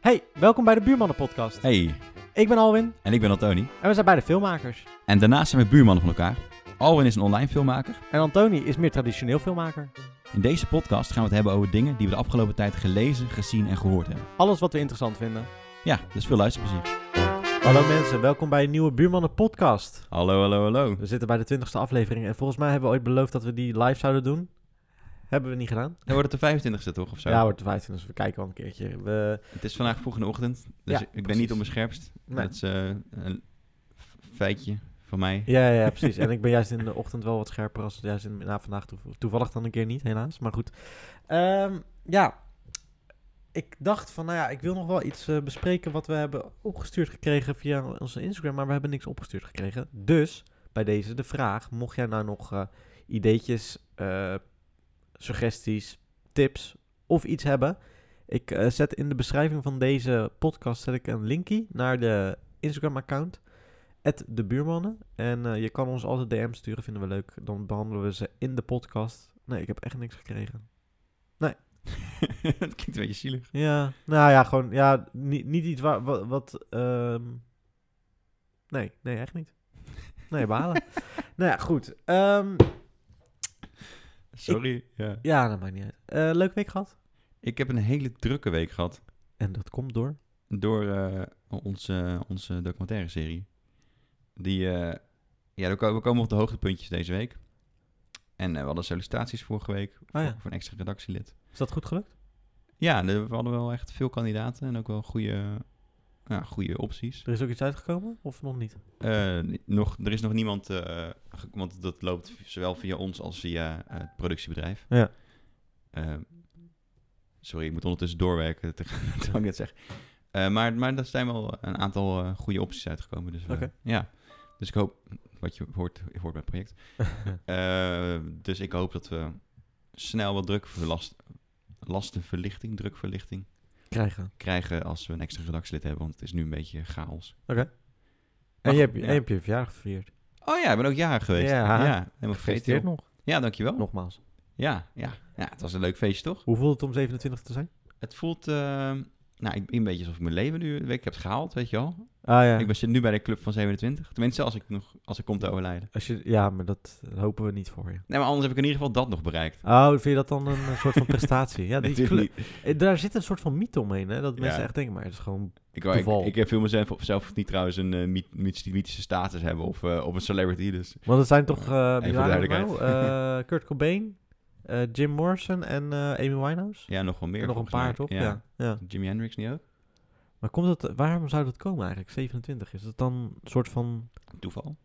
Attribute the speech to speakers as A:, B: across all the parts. A: Hey, welkom bij de Buurmannen Podcast.
B: Hey,
A: Ik ben Alwin
B: en ik ben Antoni.
A: en we zijn beide filmmakers.
B: En daarnaast zijn we buurmannen van elkaar. Alwin is een online filmmaker.
A: En Antoni is meer traditioneel filmmaker.
B: In deze podcast gaan we het hebben over dingen die we de afgelopen tijd gelezen, gezien en gehoord hebben.
A: Alles wat we interessant vinden.
B: Ja, dus veel luisterplezier.
A: Hallo mensen, welkom bij een nieuwe Buurmannen Podcast.
B: Hallo, hallo, hallo.
A: We zitten bij de twintigste aflevering en volgens mij hebben we ooit beloofd dat we die live zouden doen. Hebben we niet gedaan?
B: Dan wordt het de 25ste toch, of zo?
A: Ja, wordt de 15, dus we kijken wel een keertje. We...
B: Het is vandaag vroeg in de ochtend, dus
A: Ja,
B: ik ben
A: precies.
B: niet op mijn scherpst.
A: Nee.
B: Dat is eh, een f- feitje van mij.
A: Ja, ja, ja, precies. en ik ben juist in de ochtend wel wat scherper als juist in, na vandaag. toe- toevallig dan een keer niet, helaas. Maar goed. Ehm, ja, ik dacht van, nou ja, ik wil nog wel iets eh, bespreken wat we hebben opgestuurd gekregen via onze Instagram. Maar we hebben niks opgestuurd gekregen. Dus bij deze de vraag, mocht jij nou nog eh, ideetjes, eh, suggesties, tips of iets hebben... Ik eh, zet in de beschrijving van deze podcast zet ik een linkje naar de Instagram-account at de buurmannen. En eh, je kan ons altijd DM sturen, vinden we leuk. Dan behandelen we ze in de podcast. Nee, ik heb echt niks gekregen.
B: dat klinkt een beetje zielig.
A: Ja, nou ja, gewoon, ja, niet, niet iets waar, wat, wat ehm, nee, nee, echt niet. Nee, balen. nou ja, goed. Ehm,
B: Sorry. Ja.
A: ja, dat maakt niet uit. Eh, leuke week gehad.
B: Ik heb een hele drukke week gehad
A: En dat komt door.
B: door eh, onze, onze documentaire serie. Die, eh, ja, we ko- we komen op de hoogtepuntjes deze week. En eh, we hadden sollicitaties vorige week voor,
A: Oh ja.
B: voor een extra redactielid.
A: Is dat goed gelukt?
B: Ja, de- we hadden wel echt veel kandidaten en ook wel goede, ja, goede opties.
A: Er is ook iets uitgekomen of nog niet?
B: Eh, nog, er is nog niemand, eh, ge- want dat loopt v- zowel via ons als via eh, het productiebedrijf.
A: Ja.
B: Eh, sorry, ik moet ondertussen doorwerken te- terwijl ik dit zeg. Eh, maar, maar er zijn wel een aantal eh, goede opties uitgekomen. Dus, we-
A: Oké.
B: ja. dus ik hoop, wat je hoort, hoort bij het project. Eh, dus ik hoop dat we snel wat drukverlast, lastenverlichting, drukverlichting
A: Krijgen.
B: krijgen als we een extra redactielid hebben. Want het is nu een beetje chaos.
A: En
B: Mag-
A: je hebt,
B: ja.
A: en je, hebt je verjaardag gevierd.
B: Oh ja, ik ben ook jarig geweest.
A: Ja.
B: helemaal vergeten. joh.
A: nog.
B: Ja, dankjewel.
A: Nogmaals.
B: Ja, ja. ja, het was een leuk feestje, toch?
A: Oh. Hoe voelt het om 27 te zijn?
B: Het voelt, ehm, nou, ik ben een beetje alsof ik mijn leven nu, een week heb gehaald, weet je wel.
A: Ah ja.
B: Ik ben, zit nu bij de club van 27. Tenminste, als ik nog, als ik kom te overlijden.
A: Als je, ja, maar dat hopen we niet voor je.
B: Nee, maar anders heb ik in ieder geval dat nog bereikt.
A: Oh, vind je dat dan een eh, soort van prestatie? Ja, die
B: Natuurlijk niet.
A: kle- eh, daar zit een soort van mythe omheen, hè? Dat
B: Ja.
A: mensen echt denken, maar het is gewoon...
B: Ik, wou- ik,
A: Toeval.
B: ik viel mezelf of zelf niet trouwens een eh, myth- myth- mythische status hebben of, eh, of een celebrity. Dus
A: Want het zijn toch... eh, wie
B: Even
A: waren het nou?
B: duidelijkheid.
A: Eh, Kurt Cobain, eh, Jim Morrison en eh, Amy Winehouse.
B: ja, nog wel meer.
A: En nog een
B: volgens mij.
A: paar, toch? Ja. Ja.
B: Jimi Hendrix niet ook?
A: Maar komt dat, waarom zou dat komen eigenlijk, 27? Is dat dan een soort van...
B: Toeval.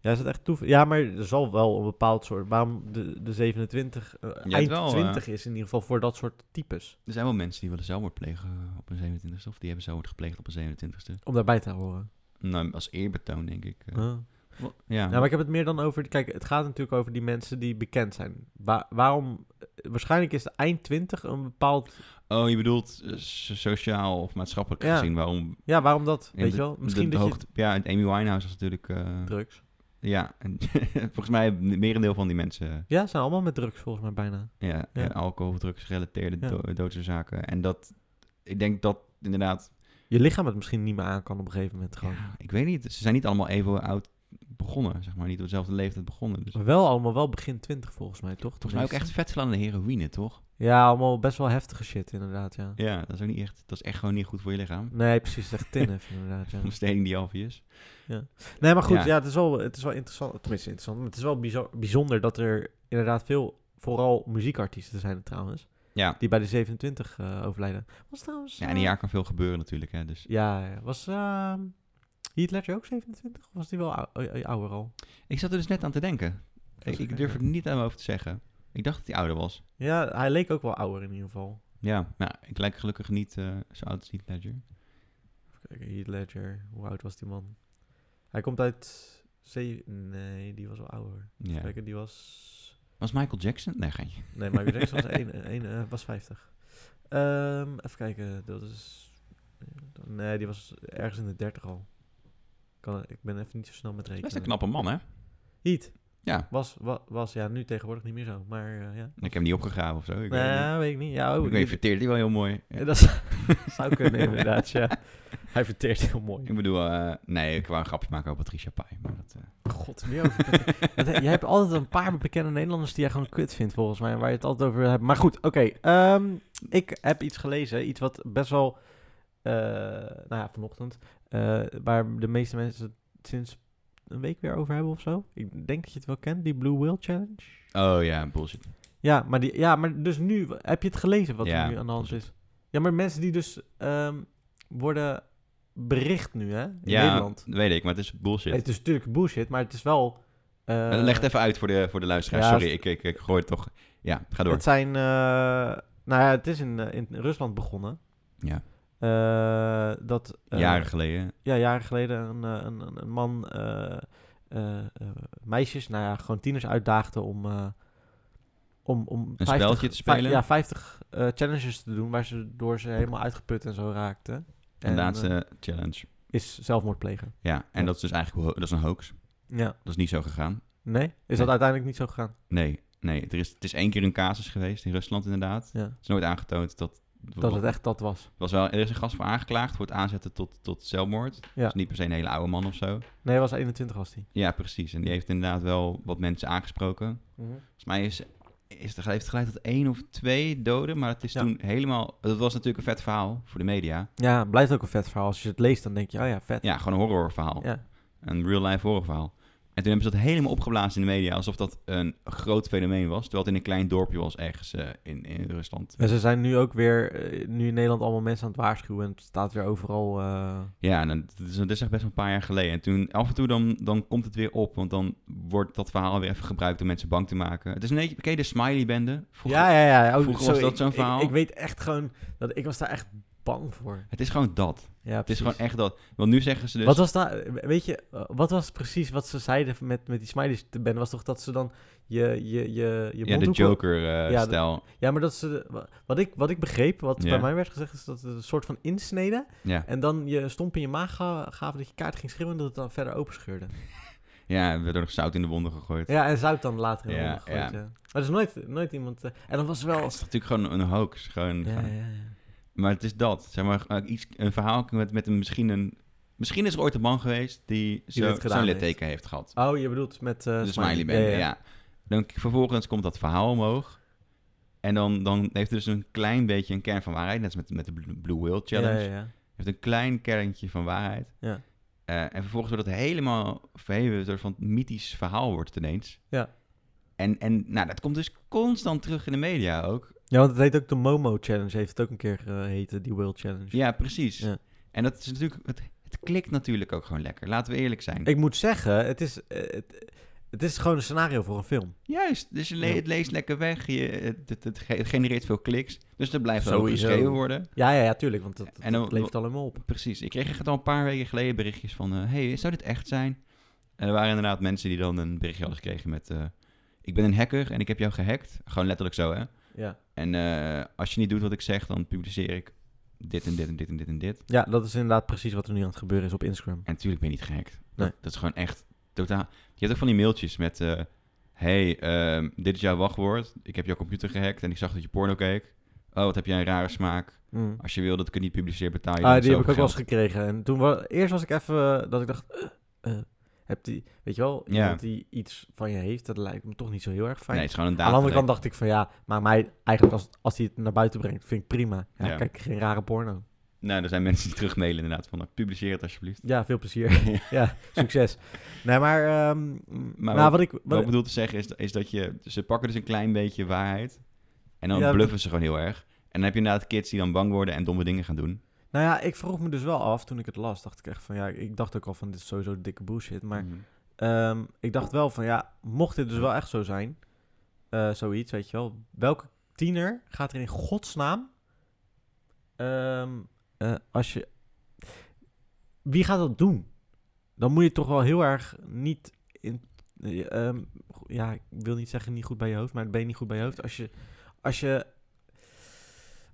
A: Ja, is het echt toeval? Ja, maar er zal wel een bepaald soort... Waarom de, de 27, eh,
B: hebt
A: eind
B: wel, eh,
A: 20 is in ieder geval voor dat soort types.
B: Er zijn wel mensen die willen zelfmoord plegen eh, op een 27ste. Of die hebben zelfmoord gepleegd op een 27ste.
A: Om daarbij te horen.
B: Nou, als eerbetoon, denk ik. eh.
A: Ah.
B: Wa- Ja.
A: Ja, maar ik heb het meer dan over... Kijk, het gaat natuurlijk over die mensen die bekend zijn. Wa- waarom... Waarschijnlijk is de eind 20 een bepaald...
B: Oh, je bedoelt eh, so- sociaal of maatschappelijk
A: Ja.
B: gezien waarom...
A: Ja, waarom dat?
B: Ja,
A: weet
B: de-
A: je wel? Misschien
B: de, de
A: dat
B: hoogte- Ja, en Amy Winehouse was natuurlijk... eh,
A: je... Drugs.
B: ja, en volgens mij het merendeel van die mensen... eh,
A: Ja, ze zijn allemaal met drugs volgens mij bijna.
B: Ja,
A: Ja.
B: eh, alcohol, drugs, gerelateerde
A: Ja.
B: do- doodsoorzaken. En dat... Ik denk dat inderdaad...
A: Je lichaam het misschien niet meer aan kan op een gegeven moment gewoon.
B: Ja, ik weet niet, ze zijn niet allemaal even oud begonnen, zeg maar. Niet op dezelfde leeftijd begonnen. Dus
A: Maar wel allemaal wel begin 20 volgens mij, toch?
B: volgens mij ook echt
A: Tenminste.
B: vet veel aan de heroïne, toch?
A: Ja, allemaal best wel heftige shit inderdaad, ja.
B: Ja, dat is ook niet echt... Dat is echt gewoon niet goed voor je lichaam.
A: Nee, precies. Echt tinnef inderdaad, ja.
B: Ontsteking die obvious.
A: Nee, maar goed, ja,
B: Ja.
A: het, is wel, het is wel interessant. Tenminste, interessant. Maar het is wel bizar- bijzonder dat er inderdaad veel... Vooral muziekartiesten zijn trouwens.
B: Ja.
A: Die bij de 27 eh, overlijden. Was trouwens...
B: Ja, in
A: eh,
B: een jaar kan veel gebeuren natuurlijk, hè. Dus
A: Ja, ja. was ehm Heath Ledger ook 27? Of was die wel ou- ou- ou- ouder al?
B: Ik zat er dus net aan te denken.
A: is
B: Ik, ik
A: gek,
B: durf
A: ja.
B: het niet aan mijn hoofd te zeggen. Ik dacht dat hij ouder was.
A: Ja, hij leek ook wel ouder in ieder geval.
B: Ja, nou, ik lijk gelukkig niet eh, zo oud als Heath Ledger.
A: Even kijken, Heath Ledger. Hoe oud was die man? Hij komt uit... Ze nee, die was wel ouder.
B: Ja.
A: Kijken, die was...
B: Was Michael Jackson? Nee, geintje.
A: Nee, Michael Jackson was, één, één, eh, was 50. Ehm, even kijken, dat is... eh, Nee, die was ergens in de 30 al. Kan, ik ben even niet zo snel met
B: Dat
A: rekenen.
B: is een knappe man, hè?
A: Heath
B: Ja.
A: was, was, was, ja, nu tegenwoordig niet meer zo, maar eh, ja.
B: Ik heb hem niet opgegraven of zo. Ik weet het
A: Nee, weet ik niet. Ja, oh,
B: niet. Ik
A: die-
B: weet, verteerde hij wel heel mooi. Ja.
A: Ja, dat is- Zou kunnen, inderdaad, ja. Hij verteert heel mooi.
B: Ik bedoel, eh, nee, ik wou een grapje maken over Patricia Pai. Maar dat, eh,
A: God, meer over Patrick. Want, eh, Jij hebt altijd een paar bekende Nederlanders die jij gewoon kut vindt, volgens mij. en Waar je het altijd over hebt. Maar goed, oké. ehm, ik heb iets gelezen. Iets wat best wel... eh, nou ja, vanochtend. eh, waar de meeste mensen het sinds een week weer over hebben of zo. Ik denk dat je het wel kent, die Blue Whale Challenge.
B: oh ja, bullshit.
A: Ja, maar, die, ja, maar dus nu... Heb je het gelezen wat
B: Ja,
A: er nu aan de hand
B: klopt.
A: is? Ja, maar mensen die dus ehm, worden bericht nu, hè? In
B: ja,
A: Nederland.
B: dat weet ik, maar het is bullshit.
A: Het is natuurlijk bullshit, maar het is wel... eh,
B: Eh, Leg het even uit voor de, voor de luisteraar.
A: ja,
B: Sorry,
A: het-
B: ik, ik, ik gooi het toch. Ja, ga door.
A: Het zijn, eh, nou ja, het is in, eh, in Rusland begonnen.
B: Ja.
A: Eh, dat eh,
B: Jaren geleden.
A: ja, jaren geleden een, eh, een, een, een man eh, eh, eh, meisjes, nou ja, gewoon tieners uitdaagde om, eh, om, om
B: Een spelletje te
A: vij-
B: spelen?
A: ja, 50 eh, challenges te doen waar ze door ze helemaal uitgeput en zo raakten.
B: En
A: En,
B: de laatste
A: eh,
B: challenge.
A: is zelfd plegen.
B: Ja, en
A: ja.
B: dat is dus eigenlijk ho- dat is een hoax.
A: Ja.
B: Dat is niet zo gegaan.
A: Nee? Is dat
B: Nee.
A: uiteindelijk niet zo gegaan?
B: Nee, nee. Er is, het is één keer een casus geweest in Rusland inderdaad.
A: Ja.
B: Het is nooit aangetoond dat...
A: Dat het echt dat was.
B: was wel, er is een gast voor aangeklaagd voor het aanzetten tot, tot zelfmoord.
A: Ja.
B: Dus niet per se een hele oude man of zo.
A: Nee, hij was 21 was die.
B: Ja, precies. En die heeft inderdaad wel wat mensen aangesproken. Volgens mij is, is er, heeft het geleid tot één of twee doden. Maar het is
A: Ja.
B: toen helemaal... Dat was natuurlijk een vet verhaal voor de media.
A: Ja, het blijft ook een vet verhaal. Als je het leest, dan denk je, oh ja, vet.
B: Ja, gewoon een horrorverhaal.
A: Ja.
B: Een real-life horrorverhaal. En toen hebben ze dat helemaal opgeblazen in de media. Alsof dat een groot fenomeen was. Terwijl het in een klein dorpje was ergens eh, in, in Rusland.
A: En ze zijn nu ook weer, eh, nu in Nederland allemaal mensen aan het waarschuwen. En het staat weer overal. eh,
B: Ja, en dan- dat is, dat is echt best wel een paar jaar geleden. En toen, af en toe dan, dan komt het weer op, want dan wordt dat verhaal weer even gebruikt om mensen bang te maken. Het is een beetje, ken je de smiley-bende? Vroeger-
A: ja, ja, ja. Oh,
B: vroeger was dat
A: ik-
B: zo'n
A: ik-
B: verhaal.
A: Ik, weet echt gewoon, dat ik was daar echt bang voor.
B: Het is gewoon dat.
A: Ja,
B: Het is gewoon echt dat. Want nu zeggen ze dus...
A: Wat was daar, weet je, eh, wat was precies wat ze zeiden met, met die smileys te ben? Was toch dat ze dan je, je, je, je
B: ja, de eh,
A: mondhoeken- Ja,
B: Joker-stijl.
A: Ja, maar dat ze, wat ik, wat ik begreep, wat
B: Ja.
A: bij mij werd gezegd, is dat het een soort van insneden.
B: ja,
A: En dan je stomp in je maag ga- gaven dat je kaart ging schreeuwen en dat het dan verder open scheurde.
B: ja, we hebben nog zout in de wonden gegooid.
A: Ja, en zout dan later in de
B: Ja,
A: oven gegooid,
B: ja.
A: ja. Maar er is nooit, nooit iemand... eh, en dan was er wel...
B: Het is natuurlijk gewoon een hoax. Gewoon,
A: Ja, ja,
B: gewoon-
A: ja.
B: Maar het is dat. Zeg maar, eh, iets, een verhaal met, met een, misschien een... Misschien is er ooit een man geweest die, zo-
A: dit gedaan
B: zo'n
A: heeft.
B: litteken heeft gehad.
A: Oh, je bedoelt met... eh
B: de smiley band, ja. Dan k- vervolgens komt dat verhaal omhoog. En dan, dan heeft het dus een klein beetje een kern van waarheid. Net als met, met de Blue- Blue Whale Challenge.
A: Ja, ja, ja.
B: Heeft een klein kerntje van waarheid.
A: Ja.
B: Eh, en vervolgens wordt het helemaal verheven. Een soort van mythisch verhaal wordt het ineens.
A: Ja.
B: En, en nou, dat komt dus constant terug in de media ook.
A: Ja, want het heet ook de Momo Challenge. Heeft het ook een keer eh heten, die Will Challenge.
B: Ja, precies.
A: Ja.
B: En dat is natuurlijk... Het, het klikt natuurlijk ook gewoon lekker. Laten we eerlijk zijn.
A: Ik moet zeggen, het is, eh, het, het is gewoon een scenario voor een film.
B: Juist, dus je le-
A: Ja.
B: het leest lekker weg, je, het, het, het ge- het genereert veel kliks, dus er blijft ook
A: Sowieso.
B: geschreven worden.
A: Ja, ja, ja, tuurlijk. Want dat, dat,
B: En dan-
A: dat leeft allemaal op.
B: Precies. Ik kreeg echt al een paar weken geleden berichtjes van... eh, hey, zou dit echt zijn? En er waren inderdaad mensen die dan een berichtje hadden gekregen met... eh, ik ben een hacker en ik heb jou gehackt. Gewoon letterlijk zo, hè?
A: Ja.
B: En eh, als je niet doet wat ik zeg, dan publiceer ik dit en dit en dit en dit en dit.
A: ja, dat is inderdaad precies wat er nu aan het gebeuren is op Instagram.
B: En natuurlijk ben je niet gehackt.
A: Nee.
B: Dat, dat is gewoon echt totaal... Je hebt ook van die mailtjes met... eh, hey, ehm, dit is jouw wachtwoord. Ik heb jouw computer gehackt en ik zag dat je porno keek. Oh, wat heb jij een rare smaak.
A: Mm.
B: Als je wil dat ik het niet publiceer, betaal je
A: Ah,
B: dan
A: die heb ik ook
B: zoveel
A: wel eens
B: geld.
A: gekregen. En toen wa- eerst was ik even eh, dat ik dacht, eh, eh, heb die, weet je wel,
B: Ja.
A: iemand die iets van je heeft, dat lijkt me toch niet zo heel erg fijn.
B: Nee, het is gewoon een
A: Aan de andere
B: datalek.
A: kant dacht ik van ja, maar mij eigenlijk als, als hij het naar buiten brengt, vind ik prima. Ja,
B: Ja.
A: Kijk, geen rare porno.
B: Nou, er zijn mensen die terugmailen inderdaad van, nou, publiceer het alsjeblieft.
A: Ja, veel plezier. ja, succes. Nee, maar, ehm, mm,
B: Maar
A: nou, wat ik...
B: Wat
A: wat-
B: ik bedoel te zeggen is, is dat je, ze pakken dus een klein beetje waarheid en dan
A: Ja,
B: bluffen ze gewoon heel erg. En dan heb je inderdaad kids die dan bang worden en domme dingen gaan doen.
A: nou ja, ik vroeg me dus wel af toen ik het las, dacht ik echt van ja, ik dacht ook al van dit is sowieso dikke bullshit, maar...
B: Mhm.
A: Ehm, ik dacht wel van ja, mocht dit dus wel echt zo zijn, eh, zoiets, weet je wel, welke tiener gaat er in godsnaam, ehm, eh, als je, wie gaat dat doen? Dan moet je toch wel heel erg niet in, eh, ehm, go- ja, ik wil niet zeggen niet goed bij je hoofd, maar het ben je niet goed bij je hoofd als je, als je,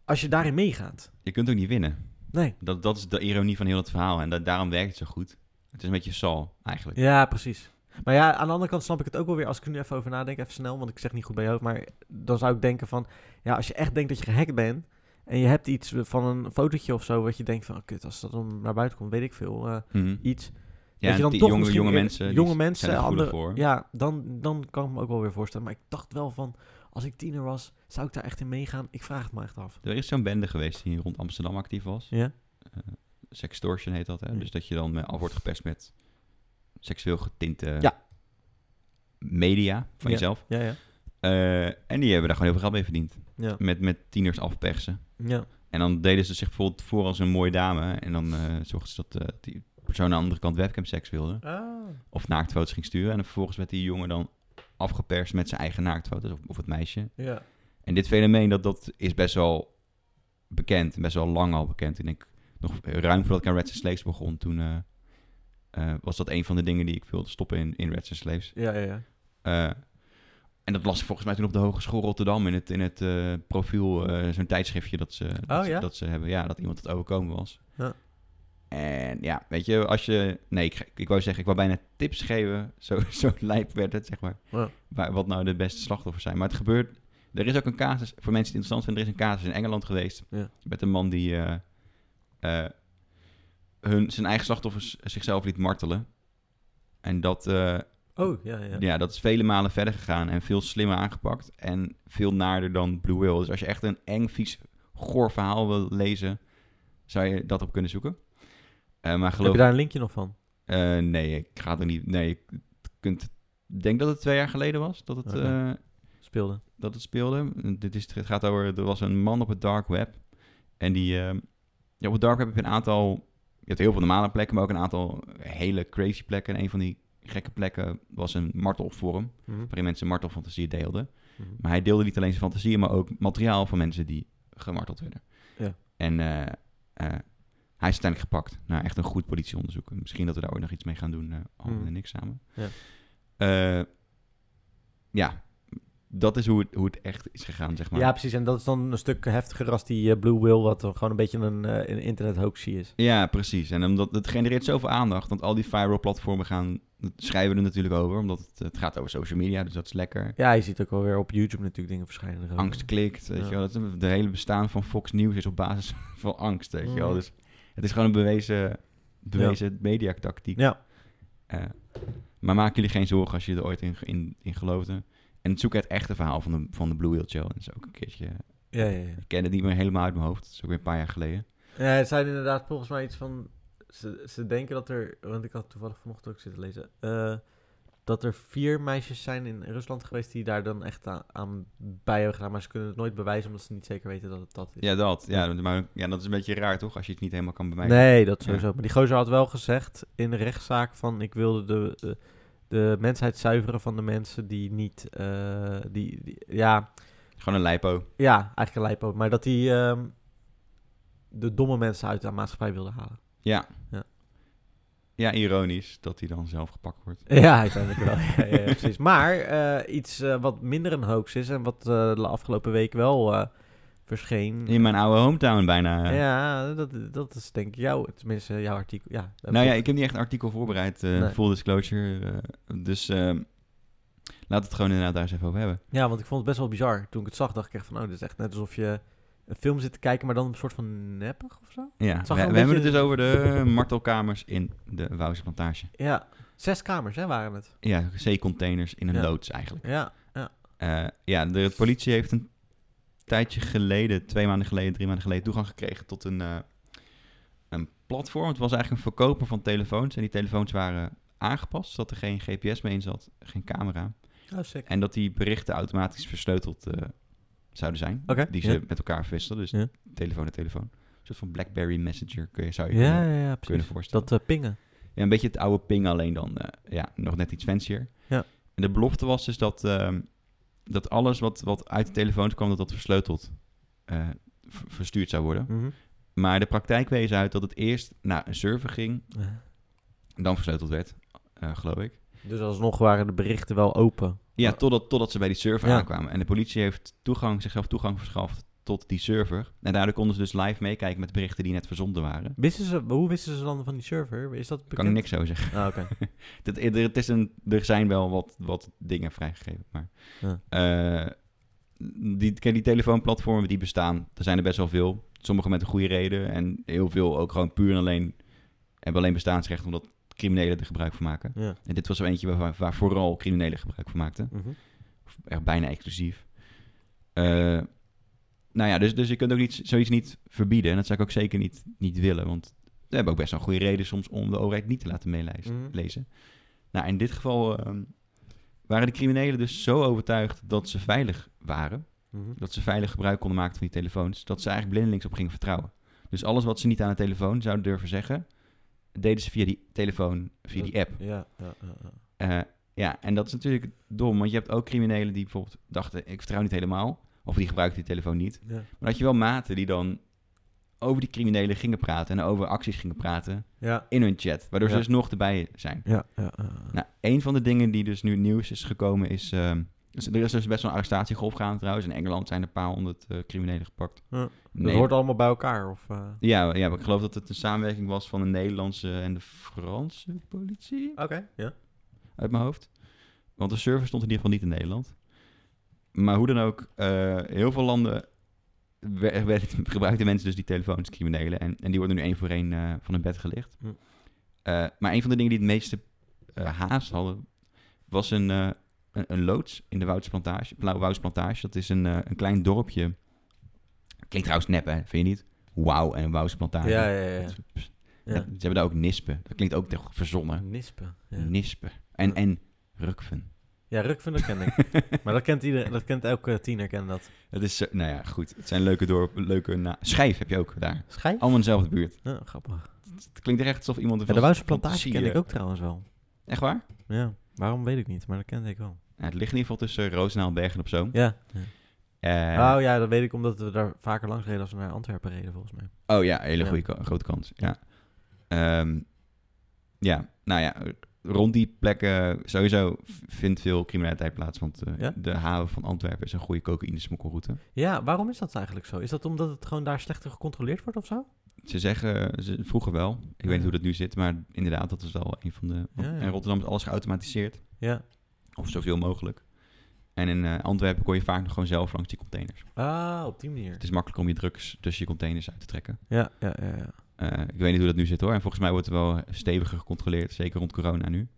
A: als je daarin meegaat.
B: Je kunt ook niet winnen.
A: Nee.
B: Dat, dat is de ironie van heel het verhaal en da- daarom werkt het zo goed. Het is een beetje Sal, eigenlijk.
A: Ja, precies. Maar ja, aan de andere kant snap ik het ook wel weer. Als ik er nu even over nadenk, even snel, want ik zeg niet goed bij je hoofd. Maar dan zou ik denken van, ja, als je echt denkt dat je gehackt bent... En je hebt iets van een fotootje of zo, wat je denkt van, oh, kut, als dat dan naar buiten komt, weet ik veel, eh,
B: Mhm.
A: iets.
B: Ja,
A: dat je
B: en
A: dan
B: die
A: toch
B: jonge,
A: misschien
B: jonge
A: weer-
B: mensen,
A: jonge
B: die
A: mensen,
B: zijn er gevoelig
A: andere,
B: voor.
A: Ja, dan, dan kan ik me ook wel weer voorstellen. Maar ik dacht wel van, als ik tiener was, zou ik daar echt in meegaan? Ik vraag het me echt af.
B: Er is zo'n bende geweest die rond Amsterdam actief was.
A: Ja?
B: Sextortion heet dat, hè?
A: Hm.
B: Dus dat je dan eh, al wordt gepest met seksueel getinte
A: Ja.
B: media van
A: Ja.
B: jezelf.
A: Ja, ja.
B: Eh, en die hebben daar gewoon heel veel geld mee verdiend.
A: Ja.
B: Met, met tieners afpersen.
A: Ja.
B: En dan deden ze zich bijvoorbeeld voor als een mooie dame. En dan eh zorgden ze dat eh, die persoon aan de andere kant webcamseks wilde. Of naaktfoto's ging sturen. En dan vervolgens werd die jongen dan afgeperst met zijn eigen naaktfoto's. Of, of het meisje.
A: Ja.
B: En dit fenomeen, dat, dat is best wel bekend. en Best wel lang al bekend. Ik denk, nog ruim voordat ik aan Reds and Slaves begon, toen eh, eh, was dat een van de dingen die ik wilde stoppen in, in Reds and Slaves.
A: Ja, ja, ja.
B: Eh, en dat las ik volgens mij toen op de Hogeschool Rotterdam in het, in het eh, profiel, eh, zo'n tijdschriftje dat ze, dat,
A: Oh,
B: ze-
A: ja?
B: dat ze hebben. Ja, dat iemand het overkomen was.
A: Ja.
B: En ja, weet je, als je... Nee, ik, ik wou zeggen, ik wou bijna tips geven. Zo, zo lijp werd het, zeg maar.
A: Ja.
B: Waar- wat nou de beste slachtoffers zijn. Maar het gebeurt... Er is ook een casus, voor mensen die het interessant vinden, er is een casus in Engeland geweest.
A: Ja.
B: Met een man die eh, eh, hun, zijn eigen slachtoffers zichzelf liet martelen. En dat... eh,
A: Oh, ja, ja.
B: ja. dat is vele malen verder gegaan en veel slimmer aangepakt. En veel naarder dan Blue Whale. Dus als je echt een eng, vies, goor verhaal wil lezen, zou je dat op kunnen zoeken. Eh, maar
A: Heb
B: geloof
A: je daar een linkje nog van?
B: eh, nee, ik ga er niet... Nee, je kunt... Ik denk dat het twee jaar geleden was dat het,
A: Oké.
B: eh,
A: Speelde.
B: dat het speelde. Dit is, het gaat over... Er was een man op het dark web. En die... eh, ja, op het dark web heb je een aantal... Je hebt heel veel normale plekken, maar ook een aantal hele crazy plekken. En een van die gekke plekken was een martelforum
A: Mhm.
B: waarin mensen martelfantasieën deelden.
A: Mhm.
B: Maar hij deelde niet alleen zijn fantasieën, maar ook materiaal van mensen die gemarteld werden.
A: Ja.
B: En eh, eh, hij is uiteindelijk gepakt na echt een goed politieonderzoek. Misschien dat we daar ooit nog iets mee gaan doen, eh Alman
A: Mm.
B: en ik samen.
A: Ja.
B: Eh, ja, dat is hoe het, hoe het echt is gegaan, zeg maar.
A: Ja, precies. En dat is dan een stuk heftiger als die eh, Blue Whale, wat dan gewoon een beetje een, eh, een internet hoaxie is.
B: Ja, precies. En omdat het genereert zoveel aandacht, want al die viral platformen gaan, dat schrijven er natuurlijk over, omdat het, het gaat over social media, dus dat is lekker.
A: Ja, je ziet ook wel weer op YouTube natuurlijk dingen verschijnen. erover.
B: angst klikt. Weet
A: Ja.
B: je wel. Dat is- de hele bestaan van Fox News is op basis van angst. Weet je wel.
A: Mm.
B: Dus het is gewoon een bewezen, bewezen mediatactiek.
A: Ja.
B: Eh, maar maak jullie geen zorgen als je er ooit in, in, in geloofde. En zoek het echte verhaal van de, van de Blue Wheel Challenge ook een keertje.
A: Ja, ja, ja.
B: Ik ken het niet meer helemaal uit mijn hoofd. Dat is ook weer een paar jaar geleden.
A: Ja, het zijn inderdaad volgens mij iets van... Ze, ze denken dat er... Want ik had toevallig vanochtend ook zitten lezen. eh, dat er vier meisjes zijn in Rusland geweest die daar dan echt aan, aan bij hebben gedaan. Maar ze kunnen het nooit bewijzen omdat ze niet zeker weten dat het dat is.
B: Ja, dat. Ja, maar, ja, dat is een beetje raar, toch? Als je het niet helemaal kan bewijzen.
A: Nee, dat sowieso. Maar die gozer had wel gezegd in de rechtszaak van ik wilde de, de, de mensheid zuiveren van de mensen die niet... eh, die, die- ja,
B: Gewoon een lijpo.
A: ja, eigenlijk een lijpo. Maar dat hij ehm, de domme mensen uit de maatschappij wilde halen.
B: Ja, ironisch dat hij dan zelf gepakt wordt.
A: Ja, uiteindelijk wel. Ja, ja, ja, precies. Maar eh, iets eh, wat minder een hoax is en wat eh, de afgelopen week wel eh, verscheen.
B: In mijn oude hometown bijna.
A: Ja, dat, dat is denk ik jouw, tenminste jouw artikel. Ja, dat
B: Nou ja,
A: betreft.
B: ik heb niet echt een artikel voorbereid, eh,
A: Nee.
B: full disclosure. eh, dus ehm laat het gewoon inderdaad daar eens even over hebben.
A: ja, want ik vond het best wel bizar. Toen ik het zag, dacht ik echt van, oh, dit is echt net alsof je een film zit te kijken, maar dan een soort van neppig of zo.
B: Ja,
A: zag
B: we,
A: er een
B: we hebben het
A: beetje-
B: dus over de martelkamers in de Wouwse plantage.
A: Ja, zes kamers hè, waren het.
B: Ja, zeecontainers in een
A: Ja.
B: loods eigenlijk.
A: Ja,
B: Eh, ja, de politie heeft een tijdje geleden, twee maanden geleden, drie maanden geleden, toegang gekregen tot een, eh, een platform. Het was eigenlijk een verkoper van telefoons en die telefoons waren aangepast, zodat er geen GPS mee in zat, geen camera.
A: oh, sick.
B: En dat die berichten automatisch versleuteld eh, zouden zijn.
A: Oké,
B: die ze
A: ja.
B: met elkaar verwisselen. Dus
A: Ja.
B: telefoon en telefoon. Een soort van Blackberry Messenger kun je, zou je
A: Ja,
B: kunnen,
A: ja, ja,
B: kunnen
A: precies.
B: voorstellen.
A: Dat eh, pingen.
B: Ja, een beetje het oude ping, alleen dan eh, ja, nog net iets fancier.
A: Ja.
B: En de belofte was dus dat, ehm, dat alles wat, wat uit de telefoons kwam, dat dat versleuteld eh, v- verstuurd zou worden.
A: Mhm.
B: Maar de praktijk wees uit dat het eerst naar een server ging, en dan versleuteld werd, eh, geloof ik.
A: Dus alsnog waren de berichten wel open.
B: Ja,
A: Maar-
B: totdat, totdat ze bij die server
A: Oh. Ja.
B: aankwamen. En de politie heeft toegang, zichzelf toegang verschaft tot die server. En daardoor konden ze dus live meekijken met berichten die net verzonden waren.
A: Wisten ze, hoe wisten ze dan van die server? Is dat bekend?
B: Kan ik niks zo zeggen.
A: Ah, oké.
B: Dat, eh, er, het is een, er zijn wel wat, wat dingen vrijgegeven. Maar,
A: Ja.
B: eh, die, kijk, die telefoonplatformen die bestaan, er zijn er best wel veel. Sommige met een goede reden en heel veel ook gewoon puur en alleen hebben alleen bestaansrecht omdat criminelen er gebruik van maken.
A: Ja.
B: En dit was er eentje waar, waar vooral criminelen gebruik van maakten.
A: Mhm.
B: Of echt bijna exclusief. Eh, nou ja, dus, dus je kunt ook niet, zoiets niet verbieden. En dat zou ik ook zeker niet, niet willen. Want we hebben ook best wel een goede reden soms om de overheid niet te laten meelezen.
A: Mhm.
B: lezen. Nou, in dit geval ehm, waren de criminelen dus zo overtuigd dat ze veilig waren
A: Mhm.
B: dat ze veilig gebruik konden maken van die telefoons, dat ze eigenlijk blindelings op gingen vertrouwen. Dus alles wat ze niet aan de telefoon zouden durven zeggen, deden ze via die telefoon, via die app.
A: Ja, ja, ja, ja.
B: Eh, ja, en dat is natuurlijk dom, want je hebt ook criminelen die bijvoorbeeld dachten, ik vertrouw niet helemaal, of die gebruikten die telefoon niet.
A: Ja.
B: Maar dat je wel maten die dan over die criminelen gingen praten en over acties gingen praten
A: Ja,
B: in hun chat, waardoor ze
A: Ja.
B: dus nog erbij zijn.
A: ja, ja, ja.
B: Nou, een van de dingen die dus nu nieuws is gekomen is... ehm, dus er is dus best wel een arrestatiegolf gaan trouwens. In Engeland zijn er een paar honderd eh, criminelen gepakt.
A: Ja. Dat
B: Nee,
A: Het hoort allemaal bij elkaar, of... eh?
B: ja, ja, maar ik geloof dat het een samenwerking was van de Nederlandse en de Franse politie
A: Oké, ja.
B: uit mijn hoofd. Want de server stond in ieder geval niet in Nederland. Maar hoe dan ook, eh, heel veel landen we- werd- gebruikten mensen dus die telefoons, criminelen. En, en die worden nu één voor één eh, van hun bed gelicht.
A: Hm.
B: Eh, maar een van de dingen die het meeste eh, haast hadden, was een, eh, een, een loods in de Woudsplantage. Blauwe Woudsplantage, dat is een, eh, een klein dorpje. Klinkt trouwens nep, hè? Vind je niet? Wauw, en een Woudsplantage.
A: Ja, ja, ja.
B: Dat is- pst.
A: ja.
B: Dat- Ze hebben daar ook nispen. Dat klinkt ook toch verzonnen.
A: Nispen. Ja,
B: Nispen. En,
A: Ja.
B: en rukven.
A: ja Rukven, dat ken ik. maar dat kent iedereen, dat kent elke tiener, kent dat.
B: Het is, zo- nou ja, goed. Het zijn leuke dorpen, leuke na Schijf heb je ook daar.
A: Schijf?
B: Allemaal in dezelfde buurt.
A: Ja, grappig.
B: Het klinkt echt alsof iemand...
A: Ja, de Wouwse plantage ken
B: fantasie,
A: ik ook trouwens wel.
B: eh, Echt waar?
A: Ja, waarom weet ik niet, maar dat kende ik wel.
B: Nou, het ligt in ieder geval tussen Roosendaal en Bergen op Zoom.
A: Ja. ja.
B: Eh,
A: Oh ja, dat weet ik omdat we daar vaker langs reden als we naar Antwerpen reden, volgens mij.
B: Oh ja, hele
A: Ja.
B: goede ka- grote kans. Ja. Ehm, ja, nou ja, rond die plekken sowieso v- vindt veel criminaliteit plaats. Want eh,
A: Ja?
B: de haven van Antwerpen is een goede cocaïnesmokkelroute.
A: Ja, waarom is dat eigenlijk zo? Is dat omdat het gewoon daar slechter gecontroleerd wordt of zo?
B: Ze zeggen, ze, vroeger wel, ik weet niet
A: Ja.
B: hoe dat nu zit, maar inderdaad, dat is wel een van de...
A: Ja, ja.
B: In Rotterdam is alles geautomatiseerd,
A: Ja.
B: of zoveel mogelijk. En in eh, Antwerpen kon je vaak nog gewoon zelf langs die containers.
A: Ah, op die manier.
B: Het is makkelijker om je drugs tussen je containers uit te trekken.
A: Ja, ja, ja. ja.
B: Eh, ik weet niet hoe dat nu zit hoor, en volgens mij wordt er wel steviger gecontroleerd, zeker rond corona nu.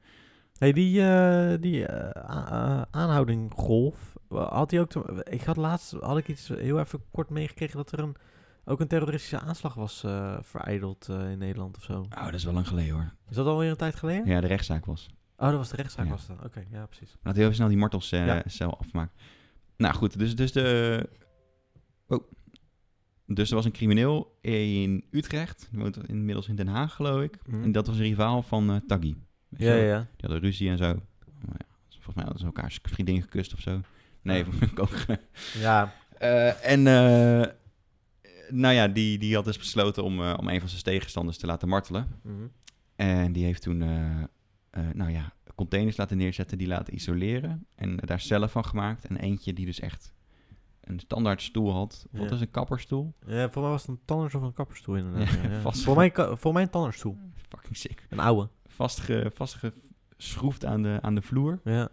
A: hey, die, eh, die eh, a- eh, aanhouding golf, had hij ook... te- ik had laatst, had ik iets heel even kort meegekregen dat er een, ook een terroristische aanslag was eh verijdeld eh, in Nederland of zo.
B: Oh, dat is wel lang geleden hoor.
A: Is dat alweer een tijd geleden?
B: Ja, de rechtszaak was.
A: Oh, dat was de rechtszaak
B: Ja.
A: was dat. Oké, ja, precies.
B: Maar dat heel snel die martelcel
A: Ja.
B: cel afmaakt. Nou goed, dus, dus de... Oh. Dus er was een crimineel in Utrecht. Die woont inmiddels in Den Haag, geloof ik.
A: Mhm.
B: En dat was een rivaal van eh Taggi. Weet je
A: Ja,
B: wel?
A: ja, ja.
B: Die hadden ruzie en zo. Maar ja, volgens mij hadden ze elkaar vriendin gekust of zo. Nee, ook...
A: Ja,
B: Eh, en... eh, nou ja, die, die had dus besloten om, eh, om een van zijn tegenstanders te laten martelen.
A: mhm.
B: En die heeft toen, eh, eh, nou ja, containers laten neerzetten, die laten isoleren. En daar cellen van gemaakt. En eentje die dus echt een standaard stoel had. Wat
A: Ja.
B: is een kapperstoel?
A: Ja, voor mij was het een tandarts of een kapperstoel inderdaad.
B: Ja,
A: Ja, ja.
B: vast.
A: Voor, mij, ka- voor mij een tandartsstoel.
B: Fucking sick.
A: Een oude.
B: Vastge, vastgeschroefd aan de, aan de vloer.
A: Ja,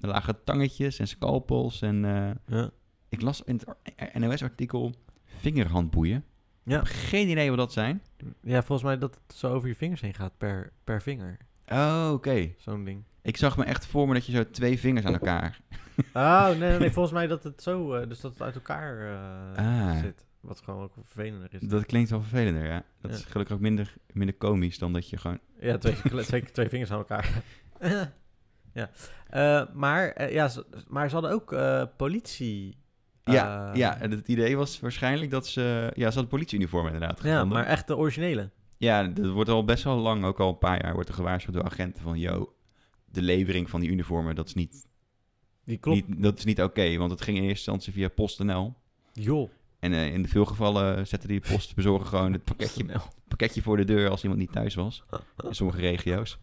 B: Er lagen tangetjes en scalpels. En eh,
A: ja.
B: ik las in het ar- eh, NOS-artikel vingerhandboeien.
A: Ja.
B: Ik heb geen idee wat dat zijn.
A: ja, volgens mij dat het zo over je vingers heen gaat per, per vinger.
B: Oh, oké.
A: Zo'n ding.
B: Ik zag me echt voor me dat je zo twee vingers aan elkaar...
A: Oh, nee, nee, nee, volgens mij dat het zo, eh, dus dat het uit elkaar eh,
B: Ah.
A: zit. Wat gewoon ook vervelender is.
B: Dat klinkt wel vervelender, ja.
A: dus-
B: Dat
A: Ja.
B: is gelukkig ook minder, minder komisch dan dat je gewoon...
A: Ja, twee, kle- zeker twee vingers aan elkaar. ja. Eh, maar, eh, ja, ze, maar ze hadden ook eh, politie.
B: Ja,
A: eh,
B: ja, en het idee was waarschijnlijk dat ze... Ja, ze had politieuniform inderdaad gevonden.
A: Ja, maar echt de originele.
B: Ja, dat wordt al best wel lang, ook al een paar jaar, wordt er gewaarschuwd door agenten van... Yo, de levering van die uniformen, dat is niet,
A: Die klopt.
B: niet, dat is niet oké. want het ging in eerste instantie via PostNL.
A: Joh.
B: En eh, in veel gevallen zette die postbezorger gewoon het pakketje, pakketje voor de deur als iemand niet thuis was. In sommige regio's.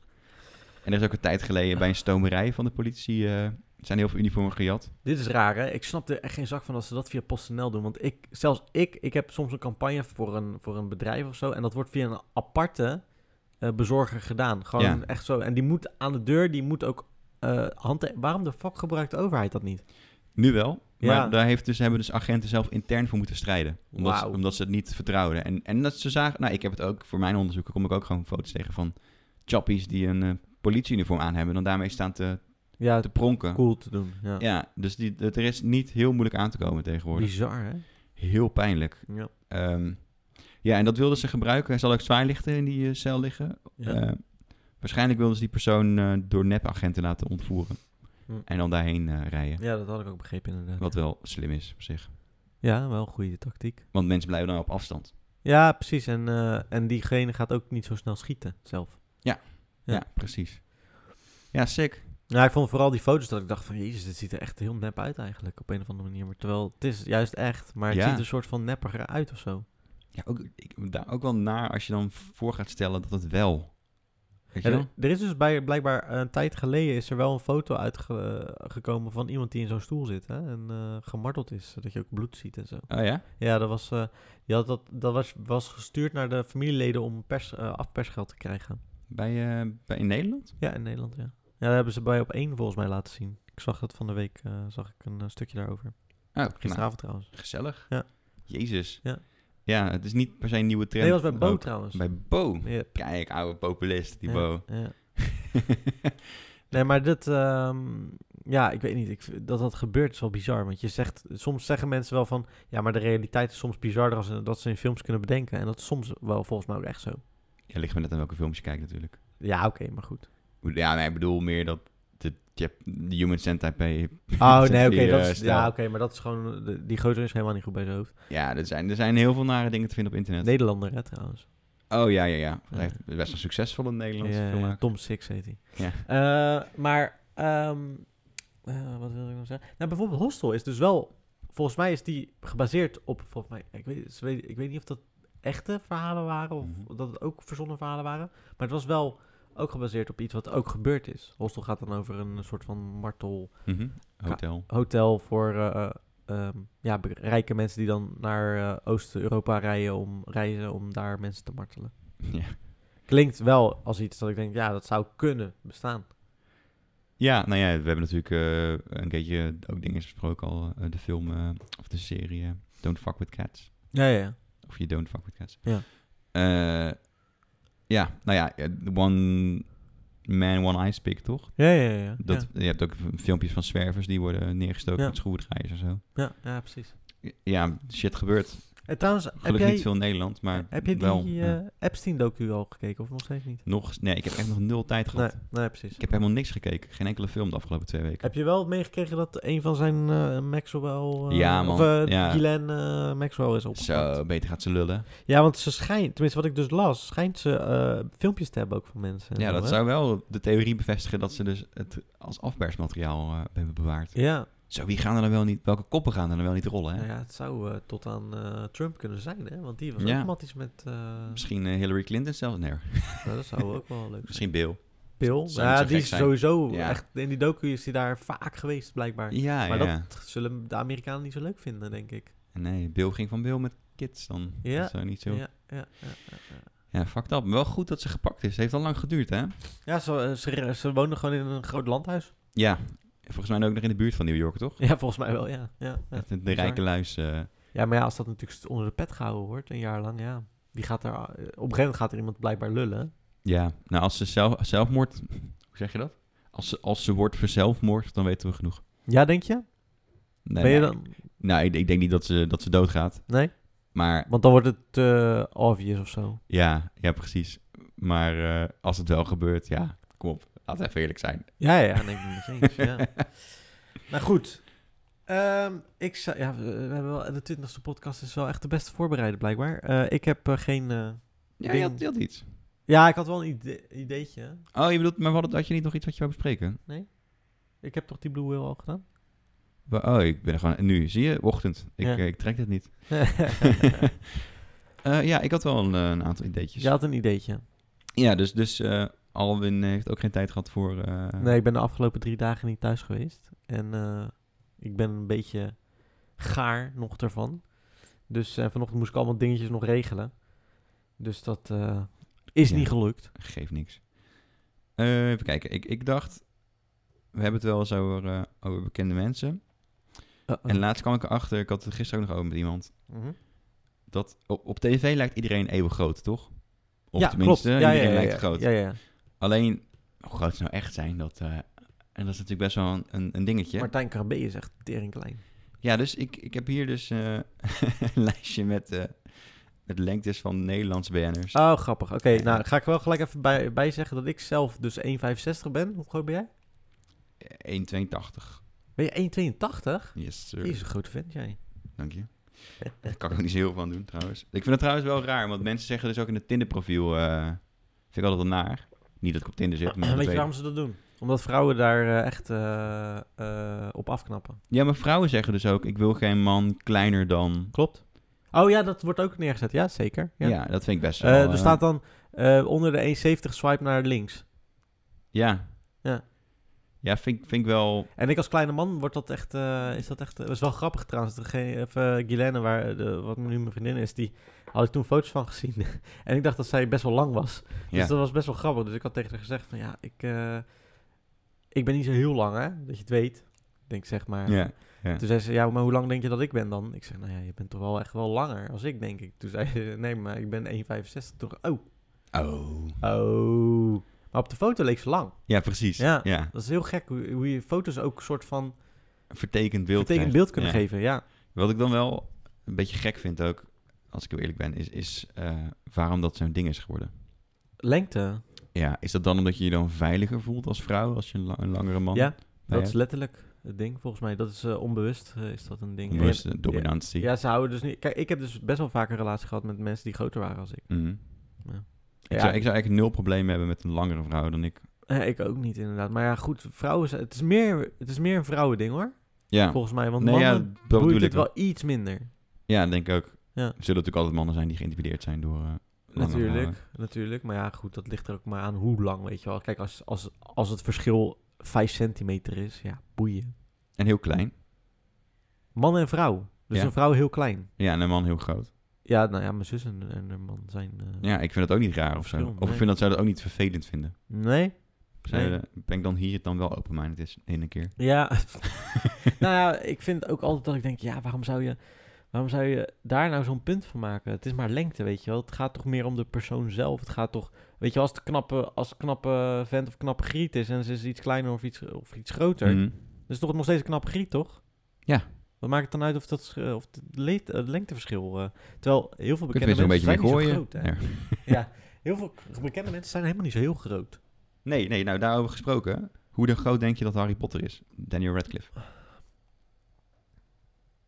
B: En er is ook een tijd geleden bij een stomerij van de politie... eh, zijn heel veel uniformen gejat.
A: Dit is raar, hè? Ik snap er echt geen zak van dat ze dat via PostNL doen. Want ik, zelfs ik, ik heb soms een campagne voor een, voor een bedrijf of zo. En dat wordt via een aparte eh, bezorger gedaan. Gewoon
B: Ja.
A: echt zo. En die moet aan de deur, die moet ook eh hand... Waarom de fuck gebruikt de overheid dat niet?
B: Nu wel. Maar
A: Ja.
B: daar heeft dus, hebben dus agenten zelf intern voor moeten strijden. Omdat, ze,
A: Wauw.
B: omdat ze het niet vertrouwden. En, en dat ze zagen... Nou, ik heb het ook... Voor mijn onderzoeken kom ik ook gewoon foto's tegen van... chappies die een eh, politieuniform aan hebben... en dan daarmee staan te,
A: Ja,
B: te pronken.
A: cool te doen. Ja.
B: Ja, dus die, dat- er is niet heel moeilijk aan te komen tegenwoordig.
A: Bizar, hè?
B: Heel pijnlijk.
A: Ja.
B: Ehm, ja, en dat wilden ze gebruiken. Er zal ook zwaailichten in die eh, cel liggen. Eh, waarschijnlijk wilden ze die persoon eh, door nepagenten laten ontvoeren.
A: Hm.
B: En dan daarheen eh, rijden.
A: ja, dat had ik ook begrepen inderdaad.
B: Wat wel slim is op zich.
A: Ja, wel een goede tactiek.
B: Want mensen blijven dan op afstand.
A: Ja, precies. En, eh, en diegene gaat ook niet zo snel schieten zelf.
B: Ja,
A: Ja.
B: precies. Ja, sick.
A: Nou, ik vond vooral die foto's dat ik dacht van... Jezus, dit ziet er echt heel nep uit eigenlijk. Op een of andere manier. Maar terwijl het is juist echt. Maar het
B: Ja.
A: ziet er een soort van neppiger uit of zo.
B: Ja, ook, ik, daar ook wel naar als je dan voor gaat stellen dat het wel. Weet je
A: Ja,
B: wel?
A: er, er is dus bij, blijkbaar een tijd geleden... is er wel een foto uitgekomen van iemand die in zo'n stoel zit. Hè, en eh, gemarteld is. Zodat je ook bloed ziet en zo.
B: Oh ja?
A: Ja, dat was, eh, je had dat, dat was, was gestuurd naar de familieleden om pers, eh, afpersgeld te krijgen.
B: Bij, eh, bij, in Nederland?
A: Ja, in Nederland, ja. Ja, daar hebben ze bij op één volgens mij laten zien. Ik zag dat van de week, eh, zag ik een eh, stukje daarover.
B: Oh, nou,
A: Gisteravond trouwens.
B: gezellig.
A: Ja.
B: Jezus.
A: Ja.
B: Ja, het is niet per se een nieuwe trend.
A: Nee, dat was bij Bo
B: Ook
A: trouwens.
B: Bij Bo.
A: Ja,
B: Kijk, oude populist, die
A: ja,
B: Bo.
A: ja. Nee, maar dit, ehm, ja, ik weet niet. Ik, vind- dat dat gebeurt is wel bizar. Want je zegt, soms zeggen mensen wel van, ja, maar de realiteit is soms bizarder als dat ze in films kunnen bedenken. En dat is soms wel volgens mij ook echt zo.
B: ja, ligt me net aan welke films je kijkt natuurlijk.
A: Ja, oké, maar goed.
B: Ja, nee, ik bedoel meer dat... De, je hebt de Human Centipede.
A: Oh
B: Dat
A: nee,
B: die,
A: oké, dat
B: eh,
A: is-
B: stijl.
A: ja, oké, maar dat is gewoon de- die gozer is helemaal niet goed bij zijn hoofd.
B: Ja, er zijn, er zijn heel veel nare dingen te vinden op internet.
A: Nederlander, hè, trouwens.
B: Oh ja, ja, ja.
A: Ja.
B: Hij heeft best wel succesvol in Nederland.
A: Ja,
B: film
A: ja, Tom Six heet hij.
B: Ja.
A: Eh, maar ehm, eh, wat wilde ik nog zeggen? Nou, bijvoorbeeld Hostel is dus wel, volgens mij is die gebaseerd op, volgens mij, ik weet, ze weet- ik weet niet of dat echte verhalen waren of
B: Mhm.
A: dat het ook verzonnen verhalen waren, maar het was wel ook gebaseerd op iets wat ook gebeurd is. Hostel gaat dan over een soort van martel
B: Mhm. Hotel.
A: hotel voor eh, ehm, ja, be- rijke mensen die dan naar eh, Oost-Europa rijden om, reizen om daar mensen te martelen.
B: Ja.
A: Klinkt wel als iets dat ik denk, ja, dat zou kunnen bestaan.
B: ja, nou ja, we hebben natuurlijk eh, een keertje ook dingen besproken al. eh, de film eh, of de serie eh, Don't Fuck With Cats.
A: Ja, ja, ja.
B: Of je don't fuck with cats.
A: Ja.
B: Eh, ja, nou ja, eh, one man, one eye speak, toch?
A: Ja, ja, ja.
B: Dat, Je hebt ook v- filmpjes van zwervers die worden neergestoken
A: Ja.
B: met schroevendraaiers en zo.
A: ja, ja, precies.
B: Ja, shit gebeurt.
A: En trouwens, heb
B: Gelukkig
A: jij,
B: niet veel in Nederland, maar
A: heb je die
B: wel. ja.
A: eh, Epstein-docu al gekeken of nog steeds niet?
B: Nog, nee, ik heb echt nog nul tijd gehad.
A: Nee, nee, precies.
B: Ik heb helemaal niks gekeken. Geen enkele film de afgelopen twee weken.
A: Heb je wel meegekregen dat een van zijn eh, Maxwell... eh,
B: Ja, man.
A: Of eh,
B: Ja.
A: Ghislaine, eh, Maxwell is opgepakt.
B: Zo, beter gaat ze lullen.
A: Ja, want ze schijnt, tenminste wat ik dus las, schijnt ze eh, filmpjes te hebben ook van mensen. en
B: Ja,
A: zo,
B: dat
A: hè?
B: zou wel de theorie bevestigen dat ze dus het als afpersmateriaal eh, hebben bewaard.
A: Ja,
B: Zo, wie gaan er dan wel niet, welke koppen gaan er dan wel niet rollen, hè?
A: nou ja, het zou eh, tot aan eh, Trump kunnen zijn, hè? Want die was
B: Ja.
A: ook matties met... eh,
B: Misschien eh, Hillary Clinton zelfs? Nee,
A: nou, dat zou ook wel leuk zijn.
B: misschien Bill.
A: Pil, Nou
B: zou niet
A: ja,
B: zo
A: die
B: gek
A: is
B: zijn.
A: sowieso
B: Ja.
A: echt... In die docu is hij daar vaak geweest, blijkbaar.
B: Ja,
A: maar
B: ja.
A: dat zullen de Amerikanen niet zo leuk vinden, denk ik.
B: Nee, Bill ging van Bill met kids dan.
A: Ja,
B: Dat zou niet zo...
A: Ja,
B: Ja,
A: ja, ja. ja, ja.
B: fucked up. Maar wel goed dat ze gepakt is. Het heeft al lang geduurd, hè?
A: Ja, ze, ze, ze wonen gewoon in een groot landhuis.
B: Ja. Volgens mij ook nog in de buurt van New York, toch?
A: Ja, volgens mij wel, ja. Ja, ja.
B: Echt De,
A: bizar.
B: rijke luis. eh,
A: Ja, maar ja, als dat natuurlijk onder de pet gehouden wordt, een jaar lang, ja. Wie gaat daar, eh, op een gegeven moment gaat er iemand blijkbaar lullen.
B: ja. Nou, als ze zelf, zelfmoord... Hoe zeg je dat? Als ze, als ze wordt verzelfmoord, dan weten we genoeg.
A: Ja, denk je?
B: Nee,
A: ben je
B: nee.
A: dan...
B: Nou, ik, ik denk niet dat ze, dat ze doodgaat.
A: Nee?
B: Maar
A: Want dan wordt het eh, obvious of zo.
B: ja, ja, precies. Maar eh, als het wel gebeurt, ja, kom op. Laten we even eerlijk zijn.
A: Ja, ja, denk ik niet eens. Ja. Nou goed. Ehm, ik zou, ja, we we hebben wel, de twintigste podcast is wel echt de beste voorbereide, blijkbaar. Eh, ik heb eh, geen... eh,
B: Ja, je
A: Ding.
B: had, je had iets.
A: Ja, ik had wel een ide- ideetje.
B: Oh, je bedoelt... Maar wat, had je niet nog iets wat je wou bespreken?
A: Ik heb toch die Blue Whale al gedaan?
B: Wa- Oh, ik ben er gewoon... Nu, zie je? Ochtend. Ik,
A: Ja.
B: eh, ik trek dit niet. Eh, ja, ik had wel een, eh, een aantal ideetjes.
A: Je
B: Ja,
A: had een ideetje.
B: dus, dus eh, Alwin heeft ook geen tijd gehad voor... eh,
A: Nee, ik ben de afgelopen drie dagen niet thuis geweest. En eh, ik ben een beetje gaar nog ervan. Dus eh, vanochtend moest ik allemaal dingetjes nog regelen. Dus dat eh, is
B: Ja.
A: niet gelukt.
B: Geeft niks. Eh, even kijken. Ik, ik dacht... We hebben het wel eens over, eh, over bekende mensen.
A: Oh.
B: En laatst kwam ik erachter, ik had het gisteren ook nog over met iemand,
A: Mhm.
B: dat op, op tv lijkt iedereen eeuwig groot, toch? Of
A: ja,
B: tenminste,
A: klopt.
B: iedereen lijkt groot.
A: Ja, ja, ja.
B: Alleen, hoe groot ze nou echt zijn, dat, eh, en dat is natuurlijk best wel een- een, een dingetje.
A: Martijn Krabbe is echt tering klein.
B: Ja, dus ik, ik heb hier dus eh, een lijstje met, eh met lengtes van Nederlands BN'ers.
A: Oh, grappig. Oké,
B: Ja.
A: nou ga ik wel gelijk even bij, bij zeggen dat ik zelf dus 1,65 ben. Hoe groot ben jij?
B: 1,82.
A: Ben je 1,82?
B: Yes, sir.
A: Jezus, een grote vent jij.
B: Dank je. Daar kan ik ook niet zo heel veel van doen, trouwens. Ik vind het trouwens wel raar, want mensen zeggen dus ook in het Tinder-profiel... eh, vind ik altijd wel naar. Niet dat ik op Tinder zit, maar... dat
A: Ah, Weet
B: weet
A: je
B: ik.
A: waarom ze dat doen? Omdat vrouwen daar eh, echt eh, eh, op afknappen.
B: Ja, maar vrouwen zeggen dus ook... Ik wil geen man kleiner dan...
A: Klopt. Oh ja, dat wordt ook neergezet. Ja, zeker. Ja.
B: Ja, dat vind ik best wel...
A: Eh, er
B: eh,
A: staat dan eh, onder de 1,70 swipe naar links.
B: Ja.
A: Ja.
B: Ja, vind, ik- vind ik wel...
A: En ik als kleine man wordt dat echt, eh, is dat echt, dat is wel grappig trouwens. Dat ge- even Guilaine, waar, eh, de, wat nu mijn vriendin is, die had ik toen foto's van gezien. en ik dacht dat zij best wel lang was. Dus
B: Ja.
A: dat was best wel grappig. Dus ik had tegen haar gezegd van ja, ik, eh, ik ben niet zo heel lang hè, dat je het weet. Ik Denk zeg maar.
B: Ja.
A: Toen zei ze, ja, maar hoe lang denk je dat ik ben dan? Ik zeg, nou ja, je bent toch wel echt wel langer als ik, denk ik. Toen zei ze, nee, maar ik ben 1,65. Toen, oh,
B: Oh.
A: oh. Maar op de foto leek ze lang.
B: Ja, precies.
A: Ja.
B: Ja.
A: Dat is heel gek hoe, hoe je foto's ook een soort van
B: Vertekend beeld
A: betekend
B: krijgt.
A: beeld kunnen
B: Ja.
A: geven, ja.
B: Wat ik dan wel een beetje gek vind ook... Als ik heel eerlijk ben, is, is eh, waarom dat zo'n ding is geworden.
A: Lengte,
B: Ja, is dat dan omdat je je dan veiliger voelt als vrouw, als je een, la- een langere man? Nou
A: Ja,
B: bij
A: dat is
B: hebt?
A: letterlijk het ding, volgens mij. Dat is eh, onbewust, eh, is dat een ding.
B: Onbewuste
A: ja.
B: dominantie.
A: Ja, ze houden dus niet... Kijk, ik heb dus best wel vaak een relatie gehad met mensen die groter waren als ik.
B: Mhm.
A: Ja.
B: Ik,
A: Ja.
B: zou, ik zou eigenlijk nul problemen hebben met een langere vrouw dan ik.
A: Eh, ik ook niet, inderdaad. Maar ja, goed, vrouwen... zijn- Het is meer, het is meer een vrouwending, hoor.
B: Ja,
A: Volgens mij, want
B: nee, ja
A: mannen
B: dat
A: boeit
B: bedoel
A: het
B: ik.
A: wel iets minder.
B: Ja, denk ik ook.
A: Ja.
B: Er zullen natuurlijk altijd mannen zijn die geïntimideerd zijn door... eh, lange
A: Natuurlijk,
B: vrouwen.
A: natuurlijk. Maar ja, goed, dat ligt er ook maar aan hoe lang, weet je wel. Kijk, als, als, als het verschil 5 centimeter is, ja, boeien.
B: En heel klein.
A: Man en vrouw. Dus
B: Ja.
A: een vrouw heel klein.
B: Ja, en een man heel groot.
A: Ja, nou ja, mijn zus en, en haar man zijn... eh,
B: Ja, ik vind dat ook niet raar of zo.
A: Verschil,
B: Of ik
A: nee.
B: vind dat zij dat ook niet vervelend vinden.
A: Nee?
B: Zij,
A: Nee.
B: eh, ben ik dan hier het dan wel open-minded is in een keer?
A: Ja. nou ja, ik vind ook altijd dat ik denk, ja, waarom zou je, waarom zou je daar nou zo'n punt van maken? Het is maar lengte, weet je wel. Het gaat toch meer om de persoon zelf. Het gaat toch, weet je, wel, als het knappe, als het knappe vent of knappe griet is en ze is iets kleiner of iets, of iets groter,
B: Mhm.
A: dan is het toch nog steeds een knappe griet, toch?
B: Ja.
A: Wat maakt het dan uit of dat sch- of het leeft, het lengteverschil? eh, terwijl heel veel
B: Kun je er
A: bekende
B: eens
A: mensen
B: een beetje mee
A: zijn niet zo
B: gooien?
A: groot, hè?
B: Nee.
A: Ja, heel veel bekende mensen zijn helemaal niet zo heel groot.
B: Nee, nee, nou daarover gesproken. Hoe de groot denk je dat Harry Potter is? Daniel Radcliffe.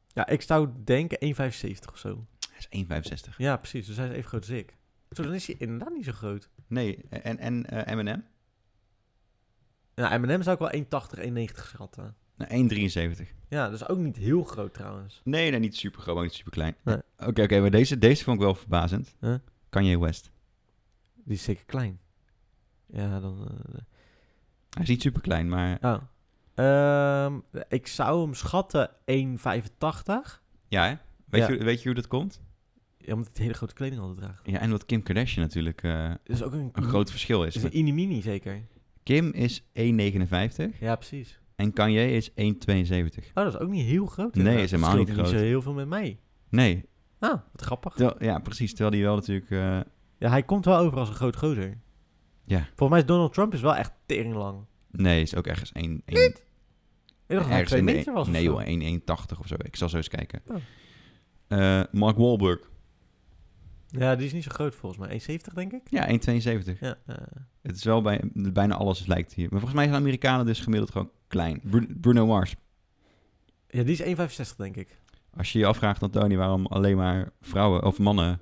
A: Ja, ik zou denken 1,75 of zo.
B: Hij is 1,65.
A: Ja, precies. Dus hij is even groot als ik. Zo, dan is hij inderdaad niet zo groot.
B: Nee, en, en eh, M&M?
A: Nou, M&M zou ik wel 1,80, 1,90 schatten.
B: Nou, 1,73.
A: Ja, dus ook niet heel groot trouwens.
B: Nee, nee, niet super groot, maar niet super klein. Oké,
A: Nee.
B: oké, maar deze, deze vond ik wel verbazend.
A: Huh?
B: Kanye West.
A: Die is zeker klein. Ja, dan... eh,
B: Hij is niet super klein, maar
A: oh. Ehm, ik zou hem schatten 1,85.
B: ja, hè? Weet,
A: Ja.
B: Je, hoe- weet je hoe dat komt?
A: Ja, omdat hij hele grote kleding altijd draagt.
B: Ja, en wat Kim Kardashian natuurlijk eh,
A: Dat is ook een...
B: een groot verschil
A: is
B: is.
A: een inimini zeker.
B: Kim is 1,59
A: Ja, precies.
B: en Kanye is 1,72.
A: Oh, dat is ook niet heel groot.
B: Nee,
A: inderdaad.
B: is helemaal
A: Dat
B: niet
A: scheelt
B: groot.
A: niet zo heel veel met mij.
B: Nee,
A: Ah, wat grappig.
B: terwijl- ja, precies. Terwijl die wel natuurlijk... eh,
A: Ja, hij komt wel over als een groot gozer.
B: Ja.
A: Volgens mij is Donald Trump is wel echt tering lang.
B: nee, is ook ergens 1... 1
A: Ik dacht dat hij
B: ergens
A: twee
B: in de-
A: meter was. of
B: Nee
A: zo.
B: joh, 1,81 of zo. Ik zal zo eens kijken.
A: Oh.
B: Eh, Mark Wahlberg.
A: Ja, die is niet zo groot volgens mij. 1,70 denk ik.
B: Ja, 1,72.
A: Ja, eh,
B: Het is wel bij bijna alles lijkt hier. Maar volgens mij zijn Amerikanen dus gemiddeld gewoon klein. Bru- Bruno Mars.
A: ja die is 1,65 denk ik.
B: Als je je afvraagt, dan Tony, waarom alleen maar vrouwen of mannen.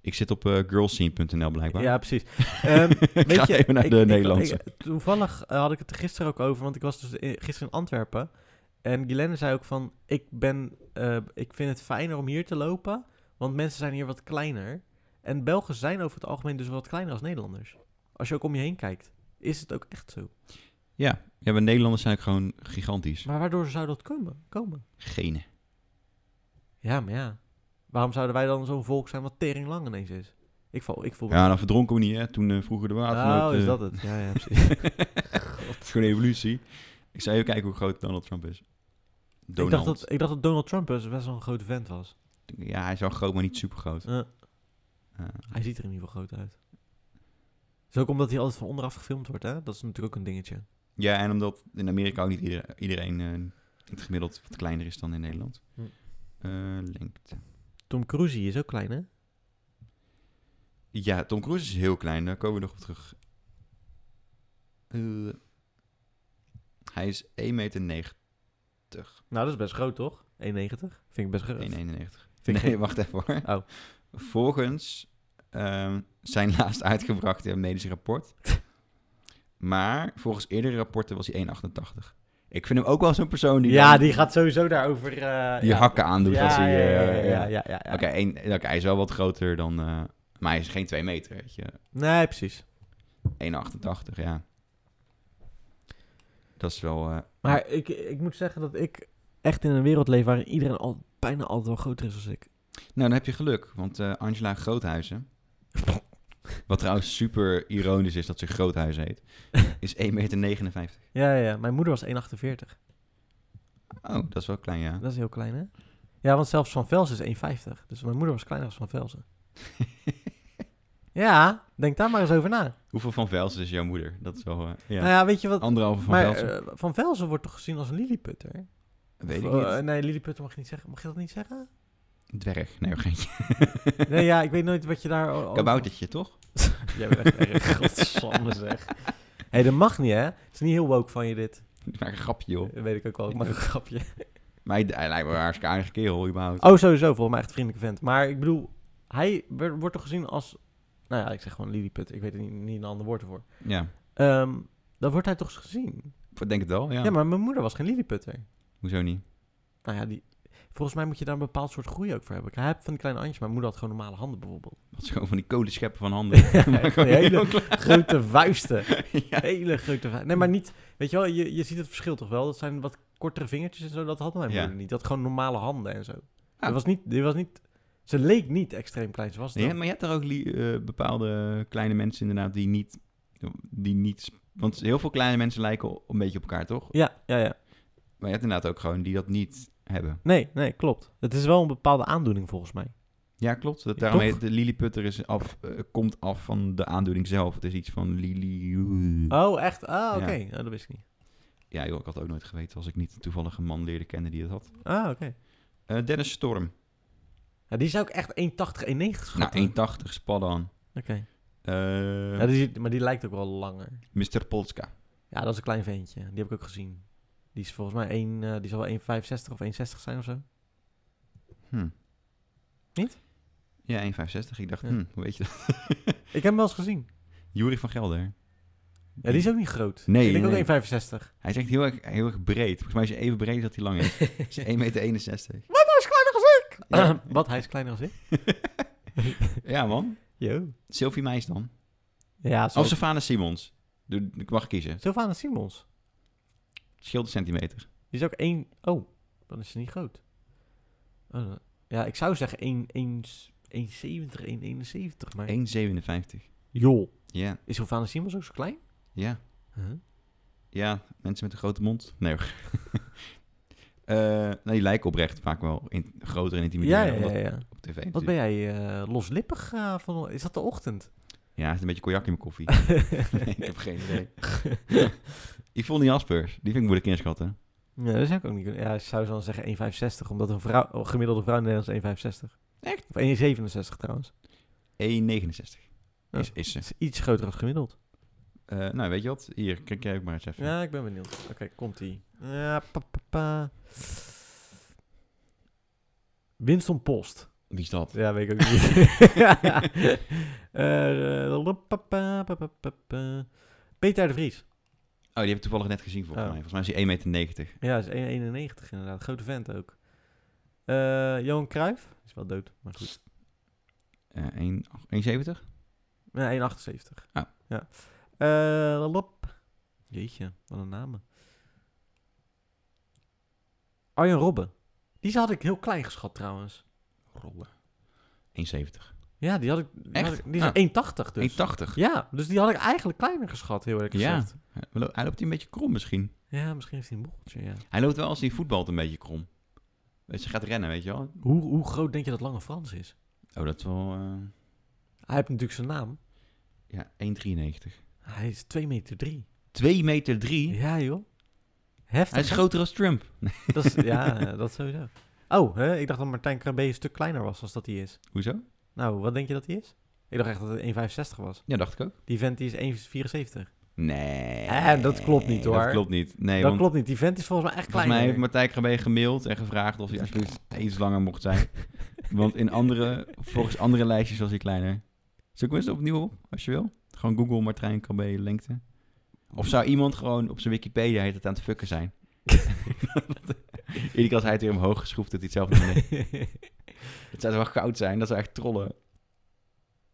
B: Ik zit op eh, girlscene.nl blijkbaar.
A: Ja, precies. Ehm,
B: ik
A: weet
B: ga
A: je,
B: even naar
A: ik-
B: de
A: ik-
B: Nederlandse.
A: ik- toevallig eh, had ik het er gisteren ook over, want ik was dus in- gisteren in Antwerpen. En Guilaine zei ook van, ik, ben, eh, ik vind het fijner om hier te lopen, want mensen zijn hier wat kleiner. En Belgen zijn over het algemeen dus wat kleiner als Nederlanders. Als je ook om je heen kijkt, is het ook echt zo.
B: Ja, ja, maar Nederlanders zijn ook gewoon gigantisch.
A: Maar waardoor zou dat komen? komen?
B: Genen.
A: Ja, maar ja. Waarom zouden wij dan zo'n volk zijn wat tering lang ineens is? Ik, val, ik voel me
B: Ja, dan verdronken we niet, hè? Toen eh, vroeger de waternood.
A: Oh, is
B: eh,
A: dat het? Ja, ja, precies.
B: Het is gewoon een evolutie. Ik zou even kijken hoe groot Donald Trump is.
A: Ik dacht,
B: Donald.
A: dat, ik dacht dat Donald Trump best best wel een grote vent was.
B: Ja, hij is wel groot, maar niet super groot.
A: Eh, hij ziet er in ieder geval groot uit. Is ook omdat hij altijd van onderaf gefilmd wordt, hè? Dat is natuurlijk ook een dingetje.
B: Ja, en omdat in Amerika ook niet ieder- iedereen eh, in het gemiddeld wat kleiner is dan in Nederland.
A: Hm.
B: Eh, lengte.
A: Tom Cruise is ook klein, hè?
B: Ja, Tom Cruise is heel klein, daar komen we nog op terug. Eh, hij is 1,90 meter.
A: Nou, dat is best groot, toch? 1,90? Vind ik best groot.
B: 1,91.
A: Vind ik
B: nee,
A: geen-
B: wacht even hoor.
A: Oh.
B: Volgens ehm, zijn laatst uitgebrachte medische rapport. maar volgens eerdere rapporten was hij 1,88. Ik vind hem ook wel zo'n persoon die...
A: ja,
B: dan
A: die gaat sowieso daarover... eh,
B: die
A: ja.
B: hakken aandoet
A: ja,
B: als hij...
A: ja, ja,
B: eh,
A: ja, ja, ja, ja, ja.
B: Oké, één- oké, hij is wel wat groter dan... eh, maar hij is geen 2 meter, weet je.
A: Nee, precies.
B: 1,88, ja. Dat is wel... eh,
A: Maar ik, ik moet zeggen dat ik echt in een wereld leef waarin iedereen al, bijna altijd wel groter is als ik.
B: Nou, dan heb je geluk, want eh, Angela Groothuizen... wat trouwens super ironisch is dat ze Groothuizen heet... is 1,59 meter.
A: Ja, ja, ja. Mijn moeder was 1,48.
B: Oh, dat is wel klein, ja.
A: Dat is heel klein, hè? Ja, want zelfs Van Velsen is 1,50. Dus mijn moeder was kleiner als Van Velsen. ja, denk daar maar eens over na.
B: Hoeveel van Velsen is jouw moeder? Dat is wel... eh, ja.
A: Nou ja, weet je wat...
B: Anderhalve van
A: maar
B: Velsen?
A: eh, Van Velsen wordt toch gezien als een lilliputter?
B: Weet ik
A: Of,
B: niet.
A: eh, nee, lilliputter mag je niet zeggen. Mag je dat niet zeggen? eh,
B: Dwerg. Nee, geen
A: nee, ja, ik weet nooit wat je daar... o- over-
B: kaboutertje, toch?
A: Jij bent echt erg. Godsamme zeg. Hé, hey, dat mag niet, hè? Het is niet heel woke van je dit.
B: Ik maak een grapje, joh.
A: Dat weet ik ook wel. Ik maak een grapje.
B: Maar hij, hij lijkt me een hartstikke aardige kerel, überhaupt.
A: Oh, sowieso. Volgens mij echt een vriendelijke vent. Maar ik bedoel, hij werd- wordt toch gezien als... Nou ja, ik zeg gewoon lilliput. Ik weet er niet, niet een ander woord voor.
B: Ja,
A: Ehm, dan wordt hij toch gezien?
B: ik denk het wel, ja.
A: Ja, maar mijn moeder was geen lilliputter.
B: Hoezo niet?
A: Nou ja, die... Volgens mij moet je daar een bepaald soort groei ook voor hebben. Hij heeft van die kleine handjes. Mijn moeder had gewoon normale handen bijvoorbeeld.
B: Wat is gewoon van die kolen scheppen van handen. Maar
A: Van
B: gewoon
A: die hele
B: heel klein.
A: grote vuisten.
B: ja.
A: Hele grote vuisten. Nee, maar niet... Weet je wel, je, je ziet het verschil toch wel? Dat zijn wat kortere vingertjes en zo. Dat had mijn
B: Ja.
A: moeder niet. Dat had gewoon normale handen en zo. Die was niet... Die was niet... Ze leek niet extreem klein. Ze was het
B: Ja,
A: ook.
B: maar je hebt er ook li- eh, bepaalde kleine mensen inderdaad die niet, die niet... Want heel veel kleine mensen lijken o- een beetje op elkaar, toch?
A: Ja, ja, ja.
B: Maar je hebt inderdaad ook gewoon die dat niet hebben.
A: Nee, nee, klopt. Het is wel een bepaalde aandoening volgens mij.
B: Ja, klopt. Dat,
A: Ja,
B: daarom
A: toch?
B: heet de Lilliputter is af, eh, komt af van de aandoening zelf. Het is iets van Lili...
A: Oh, echt? Ah,
B: Ja.
A: oké. Oh, dat wist ik niet.
B: Ja, joh, ik had het ook nooit geweten als ik niet toevallig een man leerde kennen die het had.
A: Ah, oké.
B: Eh, Dennis Storm.
A: Ja, die zou ik echt 1,80, 1,90 schatten.
B: Nou, 1,80, spad aan.
A: Oké.
B: Eh,
A: Ja, die- maar die lijkt ook wel langer.
B: Mr. Polska.
A: Ja, dat is een klein ventje. Die heb ik ook gezien. Die is volgens mij 1, eh, die zal wel 1,65 of 1,60 zijn of zo.
B: Hm.
A: Niet?
B: Ja, 1,65. Ik dacht,
A: Ja.
B: hm, hoe weet je dat?
A: Ik heb hem wel eens gezien.
B: Jury van Gelder.
A: Ja, die is ook niet groot.
B: Nee,
A: Ik denk
B: nee, nee.
A: ook 1,65.
B: Hij is echt heel erg, heel erg breed. Volgens mij is hij even breed als dat hij lang is. Hij is 1,61 meter.
A: Wat, hij is kleiner als ik!
B: Ja.
A: Wat, hij is kleiner als ik?
B: Ja, man.
A: Yo.
B: Sylvie Meis dan.
A: Ja, zo.
B: Of Savannah Simons. Doe- Ik mag kiezen.
A: Sylvana Simons.
B: Scheelt een centimeter.
A: Die is ook 1... Oh, dan is ze niet groot. Oh, dan- ja, ik zou zeggen 1, 1, 1,70, 1,71. Maar...
B: 1,57.
A: Joh.
B: Ja,
A: Is Sylvana Simons ook zo klein?
B: ja.
A: Huh?
B: Ja, mensen met een grote mond. Nee hoor. Eh, nou, die lijken oprecht vaak wel in, groter en
A: Ja,
B: intimiderender
A: ja, ja,
B: omdat
A: ja.
B: op tv.
A: Wat ben jij eh, loslippig eh, van... Is dat de ochtend?
B: Ja, er zit een beetje cognac in mijn koffie. nee, ik heb geen idee. Yvonne Jaspers, die vind ik moeilijk inschatten.
A: Ja, dat zou ik ook niet kunnen. Ja, ik zou dan zeggen 1,65, omdat een vrouw, een gemiddelde vrouw in Nederland is 1,65.
B: Echt?
A: Of 1,67 trouwens.
B: 1,69 is,
A: Oh.
B: is ze.
A: Dat is iets groter als gemiddeld.
B: Eh, nou, weet je wat? Hier, kijk jij ook maar eens even.
A: Ja, ik ben benieuwd. Oké, komt-ie. Ja, pa, pa, pa. Winston Post.
B: Wie is dat?
A: Ja, weet ik ook niet. Eh, eh, pa, pa, pa, pa, pa, pa. Peter de Vries.
B: Oh, die heb ik toevallig net gezien volgens
A: Oh.
B: mij. Volgens mij is hij 1,90 meter.
A: Ja, is 1,91 inderdaad. Grote vent ook. Eh, Johan Cruijff. Is wel dood, maar goed.
B: Eh, 1 1,70?
A: Nee, 1,78.
B: Ah.
A: Ja. Eh, lop. Jeetje, wat een namen. Arjen Robben. Die had ik heel klein geschat trouwens.
B: Rollen. 1,70.
A: Ja, Ja, die had ik. Die,
B: Echt?
A: had ik- die is
B: Ah.
A: 1,80 dus.
B: 1,80.
A: Ja, dus die had ik eigenlijk kleiner geschat, heel eerlijk
B: Ja.
A: gezegd.
B: Hij loopt- Hij loopt hier een beetje krom misschien.
A: Ja, misschien heeft hij een bochtje, ja.
B: Hij loopt wel als hij voetbalt een beetje krom. Weet je, gaat rennen, weet je wel.
A: Hoe, hoe groot denk je dat Lange Frans is?
B: Oh, dat is wel... eh,
A: Hij heeft natuurlijk zijn naam.
B: ja, 1,93.
A: Hij is 2 meter 3.
B: 2 meter 3.
A: Ja, joh. Heftig.
B: Hij is
A: hè?
B: groter als Trump.
A: Dat is, ja, eh, dat sowieso. Oh, hè? ik dacht dat Martijn Krabbe een stuk kleiner was dan dat hij is.
B: Hoezo?
A: Nou, wat denk je dat hij is? Ik dacht echt dat het 1,65 was.
B: Ja, dacht ik ook.
A: Die vent die is 1,74.
B: Nee.
A: Eh, dat klopt niet, hoor.
B: Dat klopt niet. Nee,
A: dat
B: want
A: klopt niet. Die vent is volgens mij echt
B: volgens mij
A: kleiner.
B: heeft Martijn Krabbe gemaild en gevraagd of hij alsjeblieft iets langer mocht zijn. want in andere, volgens andere lijstjes was hij kleiner. Zoek hem eens opnieuw op, als je wil. Gewoon Google Martijn Krabbe lengte. Of zou iemand gewoon op zijn Wikipedia heet het aan het fucken zijn? Iedere keer als hij het weer omhoog geschroefd heeft, hij het zelf niet meer. Het zou wel goud zijn, dat zou echt trollen.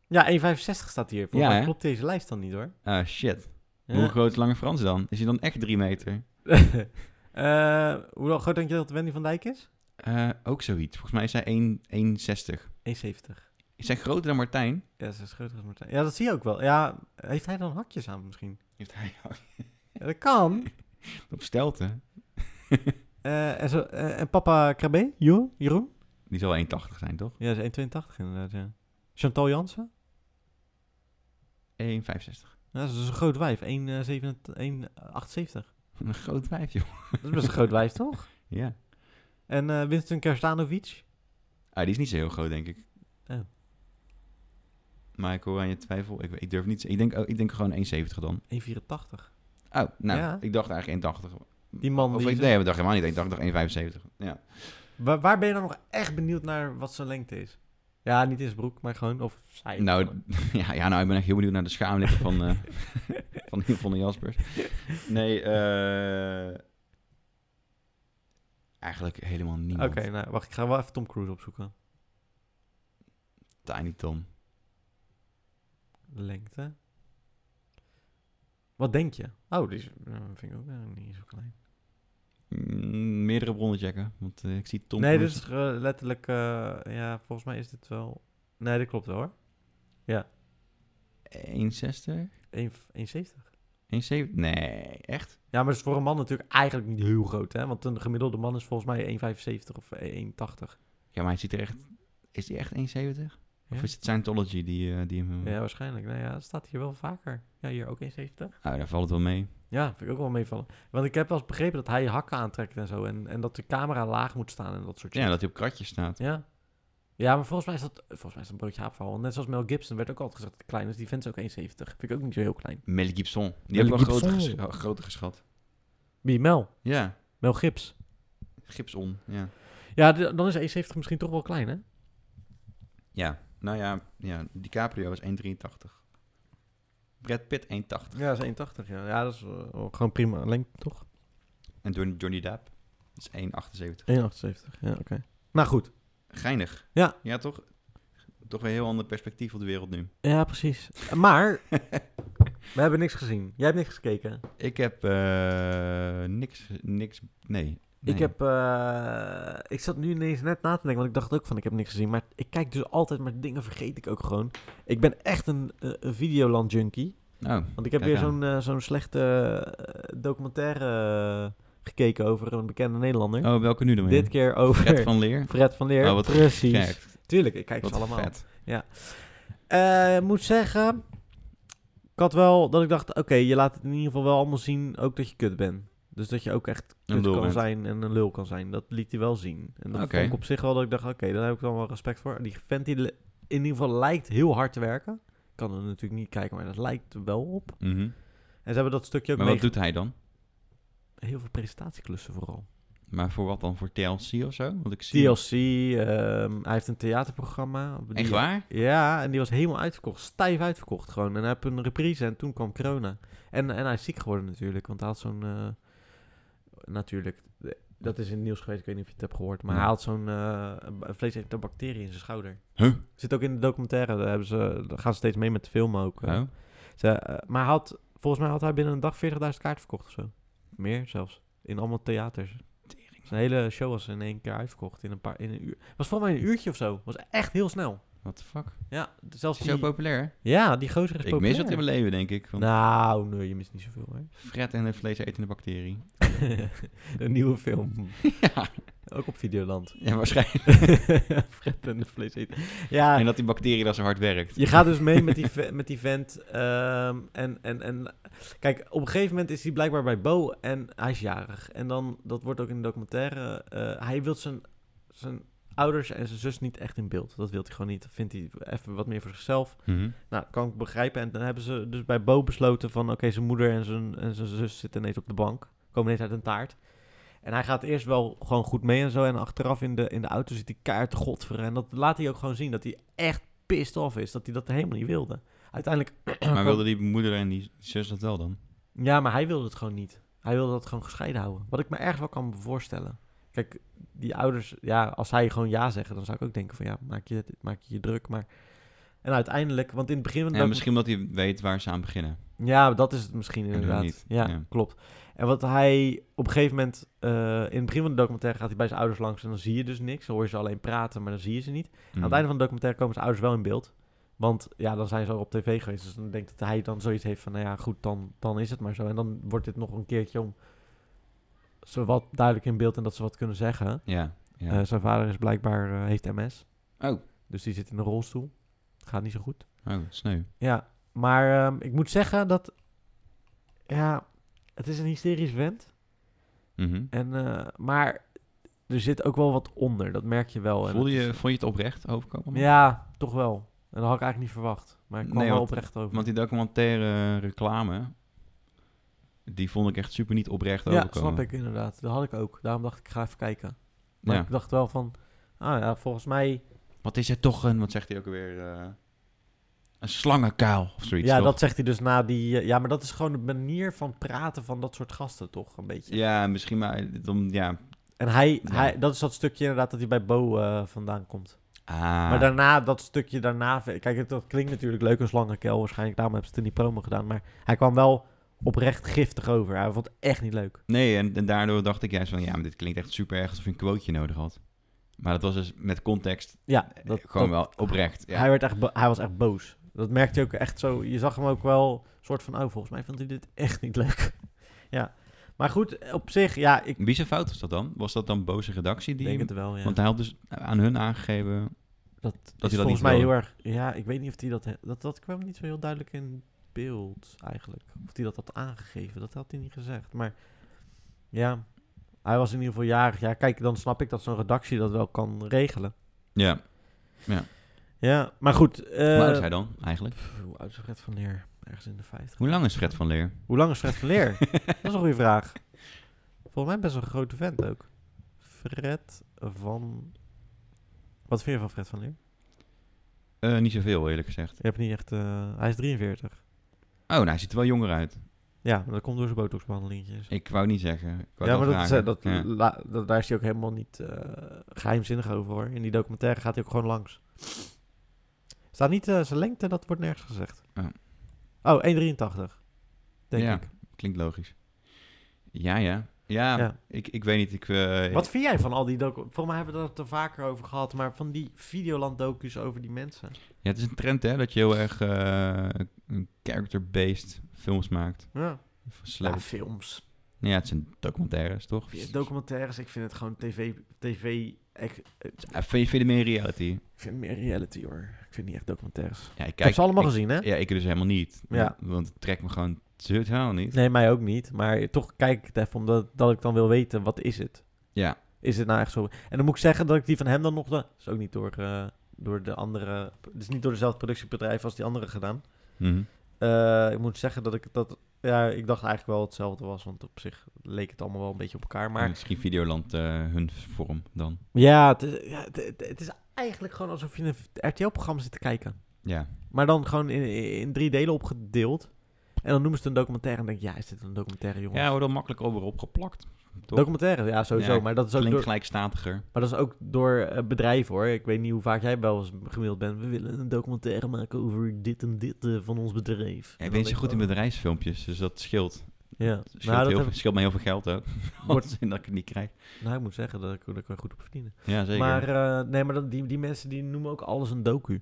A: ja, 1,65 staat hier. Volgens
B: Ja,
A: mij
B: hè?
A: klopt deze lijst dan niet hoor.
B: Ah, shit. Hoe
A: Ja.
B: groot is Lange Frans dan? Is hij dan echt drie meter?
A: Eh, hoe groot denk je dat Wendy van Dijk is?
B: Eh, ook zoiets. Volgens mij is hij 1, 1,60.
A: 1,70.
B: Is hij groter dan Martijn?
A: Ja, ze is groter dan Martijn. Ja, dat zie je ook wel. Ja, heeft hij dan hakjes aan misschien?
B: Heeft hij
A: Ja, dat kan.
B: op stelte?
A: Eh, en, zo, eh, en papa Krabbe? Jeroen? Jeroen?
B: Die zal 1,80 zijn, toch? 1,65.
A: Ja, dat is 1,82 inderdaad, ja. Chantal Jansen? Ja, dat is dus een groot wijf. 1,78. eh,
B: Een groot wijf, joh.
A: Dat is best een groot wijf, toch?
B: Ja.
A: En eh, Winston Kerstanovic?
B: Ah, die is niet zo heel groot, denk ik.
A: Oh.
B: Maar ik hoor aan je twijfel. Ik, weet- ik durf niet. te- Ik denk, oh, ik denk gewoon 1,70 dan.
A: 1,84.
B: Oh, nou,
A: Ja.
B: ik dacht eigenlijk 1,80.
A: Die man
B: Of
A: die...
B: ik, nee, we dachten helemaal niet 1,80, 1,75. Ja.
A: Waar, waar ben je dan nog echt benieuwd naar wat zijn lengte is? Ja, niet in zijn broek, maar gewoon... Of zij.
B: Nou, ja, ja, nou, ik ben echt heel benieuwd naar de schaamlippen van, eh van Yvonne Jaspers. Nee, eh eigenlijk helemaal
A: Oké,
B: niemand.
A: nou, wacht. Ik ga wel even Tom Cruise opzoeken.
B: Tiny Tom.
A: Lengte. Wat denk je? Oh, die is, eh, vind ik ook eh, niet zo klein.
B: Mm, meerdere bronnen checken, want eh, ik zie Tom
A: nee, dit
B: Cruise-
A: is eh, letterlijk... eh, ja, volgens mij is dit wel... Nee, dat klopt wel, hoor. dus-
B: 1,60?
A: 1,70.
B: 1,70? Nee, echt?
A: Ja, maar dat is voor een man natuurlijk eigenlijk niet heel groot, hè? Want een gemiddelde man is volgens mij 1,75 of 1,80.
B: Ja, maar hij ziet er echt... Is die echt 1,70? Of
A: Ja.
B: is het Scientology die, eh, die hem...
A: Ja, waarschijnlijk. Nou ja, dat staat hier wel vaker. Ja, hier ook 1,70.
B: Oh, daar valt het wel mee.
A: Ja, vind ik ook wel meevallen. Want ik heb wel eens begrepen dat hij hakken aantrekt en zo. En, en dat de camera laag moet staan en dat soort
B: Ja,
A: dingen.
B: dat hij op kratjes staat.
A: Ja. ja, maar volgens mij is dat, volgens mij is dat een broodje haapverhaal. Net zoals Mel Gibson werd ook altijd gezegd dat hij klein is. Die vent is ook 1,70. Vind ik ook niet zo heel klein.
B: Mel Gibson. Die
A: Mel
B: hebben we groter,
A: Gibson.
B: gesch- groter oh, geschat.
A: Wie, Mel?
B: Ja,
A: Mel Gips.
B: Gibson, ja.
A: Ja, d- dan is 1,70 misschien toch wel klein, hè?
B: Ja, nou ja, ja DiCaprio is 1,83. Brad Pitt 1,80.
A: Ja, dat is 1,80. Ja. ja, dat is eh, gewoon prima lengte, toch?
B: En Johnny, Johnny Depp is 1,78.
A: 1,78, ja, oké. Nou goed.
B: Geinig.
A: Ja.
B: Ja, toch? Toch weer een heel ander perspectief op de wereld nu.
A: Ja, precies. Maar, we hebben niks gezien. Jij hebt niks gekeken.
B: Ik heb eh, niks, niks, nee. nee.
A: Ik heb, eh, ik zat nu ineens net na te denken, want ik dacht ook van, ik heb niks gezien. Maar ik kijk dus altijd, maar dingen vergeet ik ook gewoon. Ik ben echt een, eh, een Videoland junkie.
B: Oh,
A: Want ik heb
B: Kijk
A: weer
B: aan.
A: zo'n eh, zo'n slechte eh, documentaire eh, gekeken over een bekende Nederlander.
B: oh welke nu dan weer?
A: Dit keer over
B: Fred
A: Fred van,
B: van Leer.
A: Leer.
B: Oh, wat
A: precies.
B: Kijk,
A: Tuurlijk, ik kijk
B: wat
A: ze allemaal.
B: vet.
A: Eh, ik moet zeggen, ik had wel dat ik dacht, oké, je laat het in ieder geval wel allemaal zien, ook dat je kut bent. Dus dat je ook echt
B: Een
A: kut
B: lul
A: kan
B: bent.
A: zijn en een lul kan zijn. Dat liet hij wel zien. En dat
B: Oké.
A: vond ik op zich wel dat ik dacht, oké, daar heb ik dan wel respect voor. Die vent die li- in ieder geval lijkt heel hard te werken. Ik kan er natuurlijk niet kijken, maar dat lijkt er wel op.
B: Mhm.
A: En ze hebben dat stukje ook
B: Maar
A: mee...
B: wat doet hij dan?
A: Heel veel presentatieklussen vooral.
B: Maar voor wat dan? Voor TLC of zo? Want ik zie...
A: TLC, ehm, hij heeft een theaterprogramma.
B: Echt
A: Die-
B: waar?
A: Ja, en die was helemaal uitverkocht. Stijf uitverkocht gewoon. En hij heeft een reprise en toen kwam corona. En, en hij is ziek geworden natuurlijk, want hij had zo'n... eh, natuurlijk, dat is in het nieuws geweest, ik weet niet of je het hebt gehoord. Maar
B: Ja.
A: hij had zo'n eh een vleesetende bacterie in zijn schouder.
B: Huh?
A: Zit ook in de documentaire, daar, hebben ze, daar gaan ze steeds mee met de film ook. eh.
B: Oh.
A: Ze, eh, maar hij had, volgens mij had hij binnen een dag 40.000 kaarten verkocht of zo. Meer zelfs. In allemaal theaters. Zijn hele show was in één keer uitverkocht in een paar in een uur. Het was volgens mij een uurtje of zo. Het was echt heel snel.
B: What the fuck?
A: Ja, zelfs
B: Is hij zo
A: die...
B: populair? hè?
A: Ja, die gozer is
B: Ik mis
A: populair.
B: het in mijn leven, denk ik. Want
A: Nou, nee, je mist niet zoveel, hè?
B: Fred en de vleesetende bacterie.
A: een nieuwe film.
B: ja.
A: Ook op Videoland.
B: ja, waarschijnlijk.
A: Fred en de vlees eten. Ja,
B: En dat die bacterie dan zo hard werkt.
A: je gaat dus mee met die, ve- met die vent. ehm, en, en, en kijk, op een gegeven moment is hij blijkbaar bij Bo en hij is jarig. En dan, dat wordt ook in de documentaire, eh, hij wil zijn, zijn ouders en zijn zus niet echt in beeld. Dat wil hij gewoon niet. Dat vindt hij even wat meer voor zichzelf.
B: Mhm.
A: Nou, kan ik begrijpen. En dan hebben ze dus bij Bo besloten van... oké, zijn moeder en zijn, en zijn zus zitten ineens op de bank. Komen ineens uit een taart. En hij gaat eerst wel gewoon goed mee en zo. En achteraf in de, in de auto zit hij kaart godveren. En dat laat hij ook gewoon zien. Dat hij echt pissed off is. Dat hij dat helemaal niet wilde. Uiteindelijk...
B: Maar wilde die moeder en die zus dat wel dan?
A: Ja, maar hij wilde het gewoon niet. Hij wilde dat gewoon gescheiden houden. Wat ik me ergens wel kan voorstellen. Kijk, die ouders... Ja, als hij gewoon ja zeggen... dan zou ik ook denken van... ja, maak je, maak je je druk, maar... En uiteindelijk... Want in het begin... van de
B: Ja, misschien omdat hij weet waar ze aan beginnen.
A: Ja, dat is het misschien
B: doen
A: inderdaad.
B: niet.
A: Ja,
B: Ja.
A: klopt. En wat hij op een gegeven moment, eh, in het begin van de documentaire gaat hij bij zijn ouders langs en dan zie je dus niks. Dan hoor je ze alleen praten, maar dan zie je ze niet.
B: Mhm.
A: Aan
B: Hmm.
A: het einde van de documentaire komen zijn ouders wel in beeld. Want ja, dan zijn ze al op tv geweest. Dus dan denkt dat hij dan zoiets heeft van, nou ja, goed, dan, dan is het maar zo. En dan wordt dit nog een keertje om ze wat duidelijk in beeld en dat ze wat kunnen zeggen.
B: Ja. ja.
A: Eh, zijn vader is blijkbaar, eh, heeft MS.
B: Oh.
A: Dus die zit in een rolstoel. Gaat niet zo goed.
B: oh, sneu.
A: Ja, maar ehm, ik moet zeggen dat... Ja, het is een hysterisch vent.
B: Mhm.
A: En, eh, maar er zit ook wel wat onder, dat merk je wel. En
B: Voelde
A: het
B: je,
A: is-
B: vond je het oprecht overkomen?
A: Ja, toch wel. En dat had ik eigenlijk niet verwacht. Maar ik kwam
B: Nee,
A: wel
B: want-
A: oprecht over.
B: Want die documentaire reclame, die vond ik echt super niet oprecht
A: ja,
B: overkomen.
A: snap ik inderdaad. Dat had ik ook. Daarom dacht ik, ik ga even kijken. Maar
B: Ja.
A: ik dacht wel van... Ah ja, volgens mij...
B: Wat is het toch een, wat zegt hij ook alweer? eh, een slangenkuil of zoiets.
A: ja,
B: toch?
A: dat zegt hij dus na die... eh, ja, maar dat is gewoon de manier van praten van dat soort gasten, toch? Een beetje.
B: Ja, misschien maar. Dan, ja.
A: En hij,
B: Ja.
A: hij... Dat is dat stukje inderdaad dat hij bij Bo eh, vandaan komt.
B: Ah,
A: Maar daarna, dat stukje daarna... Kijk, het, dat klinkt natuurlijk leuk, een slangenkel. Waarschijnlijk daarom hebben ze het in die promo gedaan. Maar hij kwam wel oprecht giftig over. Hij vond het echt niet leuk.
B: Nee, en, en daardoor dacht ik juist van, ja, maar dit klinkt echt super erg alsof je een quoteje nodig had. Maar dat was dus met context
A: Ja,
B: eh,
A: dat,
B: gewoon
A: dat-
B: wel oprecht. Ja.
A: Hij, werd echt bo- hij was echt boos. Dat merkte je ook echt zo. Je zag hem ook wel soort van... Oh, volgens mij vond hij dit echt niet leuk. ja. Maar goed, op zich, ja, ik
B: Wie zijn fout was dat dan? Was dat dan boze redactie? Die
A: denk het wel, ja.
B: Want hij had dus aan hun aangegeven
A: dat
B: dat
A: is
B: hij dat niet
A: volgens mij
B: wilde.
A: heel erg... Ja, ik weet niet of hij dat, dat... Dat kwam niet zo heel duidelijk in beeld, eigenlijk. Of hij dat had aangegeven. Dat had hij niet gezegd. Maar ja, hij was in ieder geval jarig. Ja, kijk, dan snap ik dat zo'n redactie dat wel kan regelen.
B: Ja.
A: Ja, maar goed. eh,
B: Hoe oud is hij dan eigenlijk?
A: pff, hoe oud is Fred van Leer? Ergens in de 50.
B: Hoe lang is Fred van Leer?
A: Hoe lang is Fred van Leer? dat is een goede vraag. Volgens mij best wel een grote vent ook. Fred van... Wat vind je van Fred van Leer?
B: Eh, niet zoveel, eerlijk gezegd.
A: Je hebt niet echt... eh, hij is 43.
B: Oh, nou, hij ziet er wel jonger uit.
A: Ja, maar dat komt door zijn botoxbehandelingjes.
B: Ik wou niet zeggen. Ik wou
A: ja,
B: het
A: maar
B: wel
A: dat, is, eh, dat,
B: vragen. Ja.
A: la- dat- daar is hij ook helemaal niet eh, geheimzinnig over hoor. In die documentaire gaat hij ook gewoon langs. Staat niet eh, zijn lengte, dat wordt nergens gezegd.
B: Oh.
A: Oh, 1,83. Denk
B: Ja.
A: ik.
B: Klinkt logisch. Ja, ja. Ja,
A: Ja.
B: Ik, ik weet niet. Ik, eh,
A: Wat vind jij van al die documentaires? Volgens mij hebben we het er vaker over gehad, maar van die Videoland-docus over die mensen.
B: ja, het is een trend, hè, dat je heel erg eh, een character-based films maakt.
A: Ja, ja
B: Celebrity.
A: films.
B: Ja. het zijn documentaires, toch?
A: Documentaires, ik vind het gewoon tv... TV ik, ik
B: Ja, vind, je, vind je meer reality?
A: vind meer reality hoor. Ik vind niet echt documentaires.
B: Ja, ik
A: ik heb
B: kijk,
A: ze allemaal
B: ik-
A: gezien hè?
B: Ja, ik dus helemaal niet.
A: Ja.
B: Want- Want het trekt me gewoon totaal niet.
A: Nee, mij ook niet. Maar toch kijk ik het even omdat dat ik dan wil weten, wat is het?
B: Ja.
A: Is het nou echt zo? En dan moet ik zeggen dat ik die van hem dan nog... Dat is ook niet door, eh, door de andere... Dus niet door dezelfde productiebedrijf als die andere gedaan.
B: Mhm.
A: Eh, ik moet zeggen dat ik dat... Ja, ik dacht eigenlijk wel hetzelfde was. Want op zich leek het allemaal wel een beetje op elkaar.
B: Maar
A: Maar
B: misschien Videoland eh, hun vorm dan.
A: ja, het is, ja, het, het- het is eigenlijk gewoon alsof je een RTL-programma zit te kijken.
B: Ja.
A: Maar dan gewoon in, in drie delen opgedeeld. En dan noemen ze het een documentaire. En dan denk ik, ja, is dit een documentaire, jongens?
B: Ja, wordt al makkelijk over opgeplakt. Toch?
A: documentaire, ja, sowieso.
B: Ja,
A: maar dat is ook
B: Klinkt
A: door,
B: gelijk statiger.
A: Maar dat is ook door eh, bedrijven hoor. Ik weet niet hoe vaak jij wel eens gemaild bent. We willen een documentaire maken over dit en dit eh, van ons bedrijf.
B: Ja, ik ben niet zo goed in
A: bedrijf.
B: bedrijfsfilmpjes, dus dat scheelt.
A: Ja,
B: Dat scheelt,
A: nou, dat
B: heel,
A: heb,
B: veel-
A: ik-
B: scheelt me heel veel geld ook.
A: Wordt-
B: Anders dat ik het niet krijg.
A: nou, ik moet zeggen dat ik, dat ik er goed op verdienen.
B: Ja, zeker.
A: Maar, eh, nee, maar dat, die, die mensen die noemen ook alles een docu.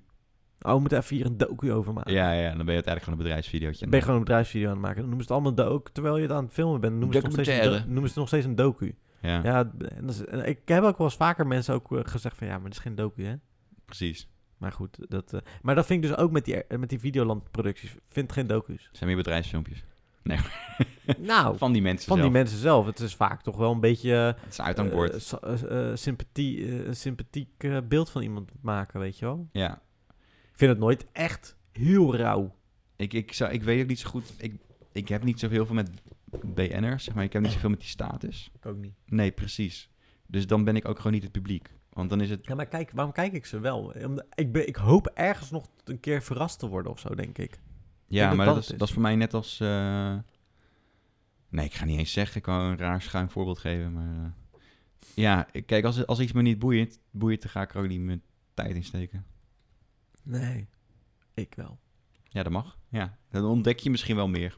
A: Oh, we moeten even hier een docu over maken.
B: eh, Ja, ja, dan ben je uiteindelijk gewoon een bedrijfsvideootje.
A: Ben je gewoon een bedrijfsvideo aan het maken. Dan noemen ze het allemaal docu. Terwijl je het aan het filmen bent, noemen ze het nog steeds, een do-
B: Documentaire.
A: noemen ze het nog steeds een docu.
B: Ja,
A: Ja, en dat is- en ik heb ook wel eens vaker mensen ook eh, gezegd van ja, maar het is geen docu, hè?
B: precies.
A: Maar goed, dat, eh, maar dat vind ik dus ook met die, eh, met die Videoland-producties. Vind geen docu's.
B: Het zijn meer bedrijfsfilmpjes.
A: nou, van,
B: Van die mensen
A: die
B: zelf.
A: mensen zelf. Het is vaak toch wel een beetje
B: Het is uit
A: eh,
B: aan boord.
A: eh, sa- eh, eh, sympathie, eh, een sympathiek eh, beeld van iemand maken, weet je wel.
B: ja.
A: Ik vind het nooit echt heel rauw.
B: Ik, ik, zou, ik weet ook niet zo goed... Ik, ik heb niet zo heel veel met BN'ers, zeg maar. Ik heb niet zoveel met die status.
A: Ik ook niet.
B: Nee, precies. Dus dan ben ik ook gewoon niet het publiek. Want dan is het...
A: Ja, maar kijk, waarom kijk ik ze wel? Omdat- Ik, ben, ik hoop ergens nog een keer verrast te worden of zo, denk ik.
B: Ja,
A: dat
B: maar
A: dat
B: dat, is,
A: het is.
B: dat is voor mij net als... eh, Nee, ik ga niet eens zeggen. Ik kan een raar schuin voorbeeld geven, maar... eh, Ja, ik- kijk, als, als iets me niet boeit, boeit, dan ga ik er ook niet mijn tijd in steken.
A: Nee, ik wel.
B: Ja, dat mag. Ja, dan ontdek je misschien wel meer.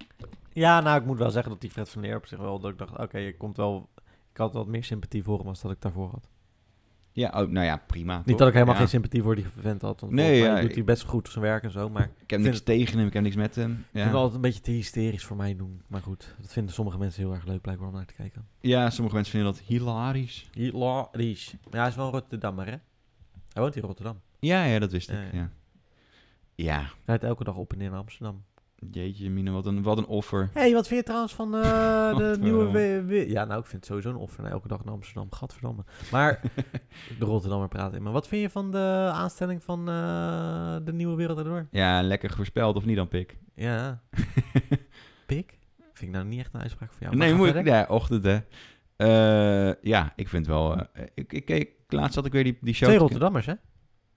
A: Ja, nou, ik moet wel zeggen dat die Fred van Leer op zich wel... Dat ik dacht, oké, je komt wel... Ik had wat meer sympathie voor hem als dat ik daarvoor had.
B: Ja, oh, nou ja, prima.
A: Niet
B: toch?
A: dat ik helemaal
B: Ja.
A: geen sympathie voor die vent had. Want
B: Nee,
A: nee,
B: ja,
A: doet hij
B: ik-
A: best goed zijn werk en zo. Maar
B: Ik heb
A: vind
B: niks
A: het-
B: tegen hem, ik heb niks met hem.
A: ik vind het
B: Ja,
A: altijd een beetje te hysterisch voor mij doen. Maar goed, dat vinden sommige mensen heel erg leuk blijkbaar om naar te kijken.
B: ja sommige mensen vinden dat hilarisch.
A: Hilarisch. Ja, hij is wel een Rotterdammer, hè? Hij woont in Rotterdam.
B: Ja, ja, dat wist
A: Ja,
B: ik.
A: ja.
B: Ja. ja,
A: Hij rijdt elke dag op en neer naar Amsterdam.
B: jeetje, Mine, wat een, wat een offer.
A: Hé, hey, wat vind je trouwens van eh,
B: Wat
A: de
B: voor
A: nieuwe...
B: rommel.
A: we- we- ja, nou, ik vind het sowieso een offer. naar elke dag naar Amsterdam, gadverdamme. Maar de Rotterdammer praat in. Maar wat vind je van de aanstelling van eh, de nieuwe wereld daardoor?
B: Ja, lekker voorspeld of niet dan, Pik?
A: Ja. Pik? Vind ik nou niet echt een uitspraak voor jou. maar
B: nee,
A: ga
B: moet
A: verder.
B: ik... Ja, ochtend, hè. Eh, ja, ik vind wel... eh, ik, ik keek... Laatst had ik weer die, die show...
A: Twee
B: te-
A: Rotterdammers, hè?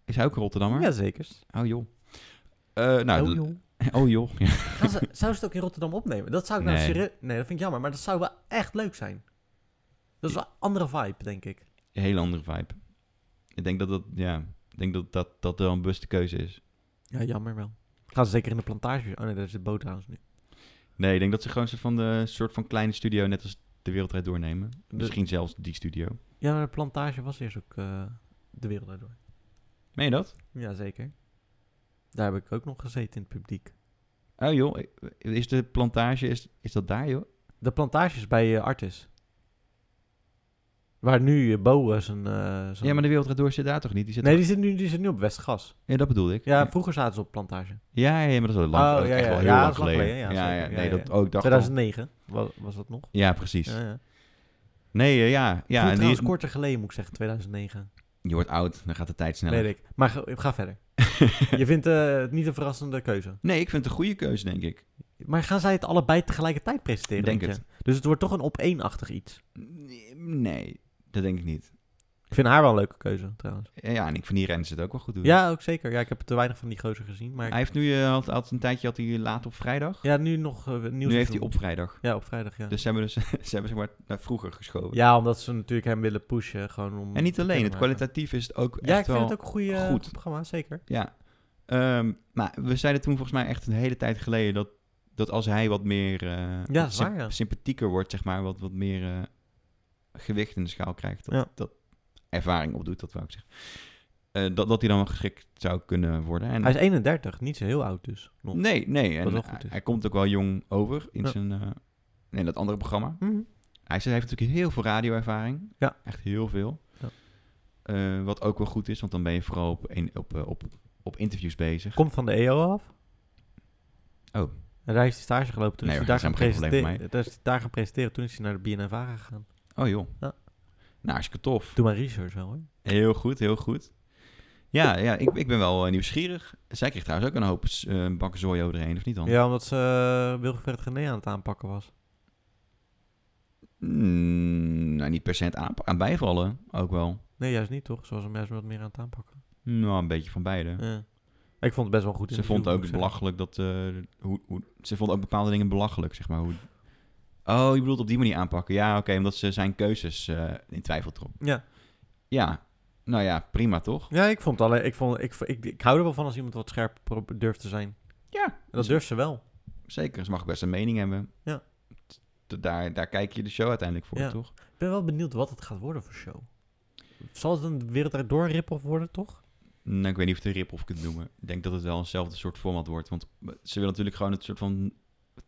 B: Is hij ook een Rotterdammer?
A: Jazeker.
B: Oh, joh. Eh, nou,
A: oh,
B: de-
A: joh.
B: oh, joh. Ja.
A: Gaan ze, zou ze het ook in Rotterdam opnemen? Dat zou ik nou
B: Nee.
A: serieus... Nee, dat vind ik jammer. Maar dat zou wel echt leuk zijn. Dat is wel een andere vibe, denk ik.
B: Een hele andere vibe. Ik denk dat dat... Ja, ik denk dat dat, dat wel een bewuste keuze is.
A: Ja, jammer wel. Gaan ze zeker in de plantage... Oh nee, daar is de boot trouwens nu.
B: Nee, ik denk dat ze gewoon zo van de soort van kleine studio, net als de wereldrijd doornemen. Misschien zelfs die studio.
A: Ja, maar de plantage was eerst ook eh, de wereld daardoor.
B: Meen je dat?
A: Jazeker. Daar heb ik ook nog gezeten in het publiek.
B: Oh joh, is de plantage, is, is dat daar joh?
A: De plantages bij eh, Artis. Waar nu eh, Bo eh, zijn... eh, zijn-
B: Ja, maar de wereldrijd door zit daar toch niet? Die zit
A: Nee,
B: toch-
A: die zit, nu, die zit nu op Westgas.
B: Ja, dat bedoelde ik.
A: Ja, vroeger zaten ze op plantage.
B: ja, ja, ja, maar dat is wel lang,
A: Oh,
B: dat is
A: ja,
B: echt
A: ja.
B: wel heel
A: Ja,
B: lang
A: dat is lang
B: geleden.
A: geleden, ja,
B: ja, ja,
A: zeker.
B: nee,
A: Ja, ja.
B: dat ook dacht
A: 2009 was, was dat nog.
B: al- Ja, precies.
A: Ja, ja.
B: Nee, eh, ja,
A: Ja,
B: ja. En die,
A: trouwens korter geleden, moet ik zeggen, 2009.
B: je wordt oud, dan gaat de tijd sneller.
A: Weet ik. Maar ga, ga verder. je vindt eh, het niet een verrassende keuze.
B: Nee, ik vind het een goede keuze, denk ik.
A: Maar gaan zij het allebei tegelijkertijd presenteren?
B: Denk
A: je? Dus het wordt toch een op achtig iets.
B: Nee, dat denk ik niet.
A: Ik vind haar wel een leuke keuze, trouwens.
B: Ja, en ik vind die Rens het ook wel goed doen.
A: Ja, ook zeker. Ja, ik heb te weinig van die gozer gezien. Maar
B: Hij heeft nu, eh, had, had een tijdje had hij laat op vrijdag.
A: ja, nu nog eh, nieuw
B: nu heeft hij
A: seizoen.
B: op vrijdag.
A: Ja, op vrijdag, ja.
B: Dus ze hebben, dus, ze hebben zeg maar naar vroeger geschoven.
A: Ja, omdat ze natuurlijk hem willen pushen. Gewoon om
B: En niet alleen, het
A: te maken.
B: kwalitatief is het ook
A: Ja, ik
B: echt
A: vind
B: wel...
A: het ook een goede, eh,
B: goed.
A: goed programma, zeker.
B: Ja. Ehm, maar we zeiden toen volgens mij echt een hele tijd geleden dat, dat als hij wat meer eh,
A: Ja, dat is
B: symp-
A: waar, ja.
B: sympathieker wordt, zeg maar, wat, wat meer eh, gewicht in de schaal krijgt, dat,
A: Ja.
B: dat ervaring opdoet, dat wou ik zeggen. Eh, dat, dat hij dan wel geschikt zou kunnen worden. En Nou.
A: Hij is 31, niet zo heel oud dus. Nog.
B: Nee, nee.
A: Wat
B: En
A: wel goed
B: hij,
A: is.
B: hij komt ook wel jong over in
A: Ja.
B: zijn... eh, in dat andere programma.
A: Mhm.
B: Hij zei- hij heeft natuurlijk heel veel radioervaring.
A: Ja.
B: Echt heel veel.
A: Ja.
B: Eh, wat ook wel goed is, want dan ben je vooral op, een, op, eh, op, op interviews bezig.
A: Komt van de EO af.
B: Oh.
A: En daar heeft hij stage gelopen. Toen
B: Nee,
A: is hij
B: hoor,
A: daar gaan,
B: dat is helemaal geen probleem voor
A: presenteren. Daar is hij daar gaan presenteren. Toen is hij naar de BNNVARA gegaan.
B: Oh joh.
A: Ja.
B: Nou, hartstikke tof.
A: Doe maar research wel hoor.
B: Heel goed, heel goed. Ja, ja ik, ik ben wel eh, nieuwsgierig. Zij kreeg trouwens ook een hoop s- eh bakken zooi over de heen, of niet dan?
A: Ja, omdat ze uh, Wilfred Gené aan het aanpakken was.
B: Mm, nou, niet per se aan, aan bijvallen, ook wel.
A: Nee, juist niet toch? Zoals hem juist wat meer aan het aanpakken.
B: Nou, een beetje van beide.
A: Ja. Ik vond het best wel een goed.
B: Ze
A: interview,
B: vond
A: moet
B: ook
A: ik zeggen.
B: belachelijk dat... eh, hoe, hoe, ze vond ook bepaalde dingen belachelijk, zeg maar. Hoe... Oh, je bedoelt op die manier aanpakken. Ja, oké, omdat ze zijn keuzes eh, in twijfel trok.
A: Ja.
B: Ja, nou ja, prima toch?
A: Ja, ik vond het alleen. Ik, vond, ik, ik, ik hou er wel van als iemand wat scherp pro- durft te zijn.
B: Ja.
A: En dat durft ze wel.
B: Zeker, ze mag best een mening hebben.
A: Ja.
B: T- Daar, daar kijk je de show uiteindelijk voor,
A: Ja.
B: toch?
A: Ik ben wel benieuwd wat het gaat worden voor show. Zal het een wereldrijd door rip-off worden, toch?
B: nou, ik weet niet of het een rip-off kunt noemen. Ik denk dat het wel eenzelfde soort format wordt. Want ze willen natuurlijk gewoon het soort van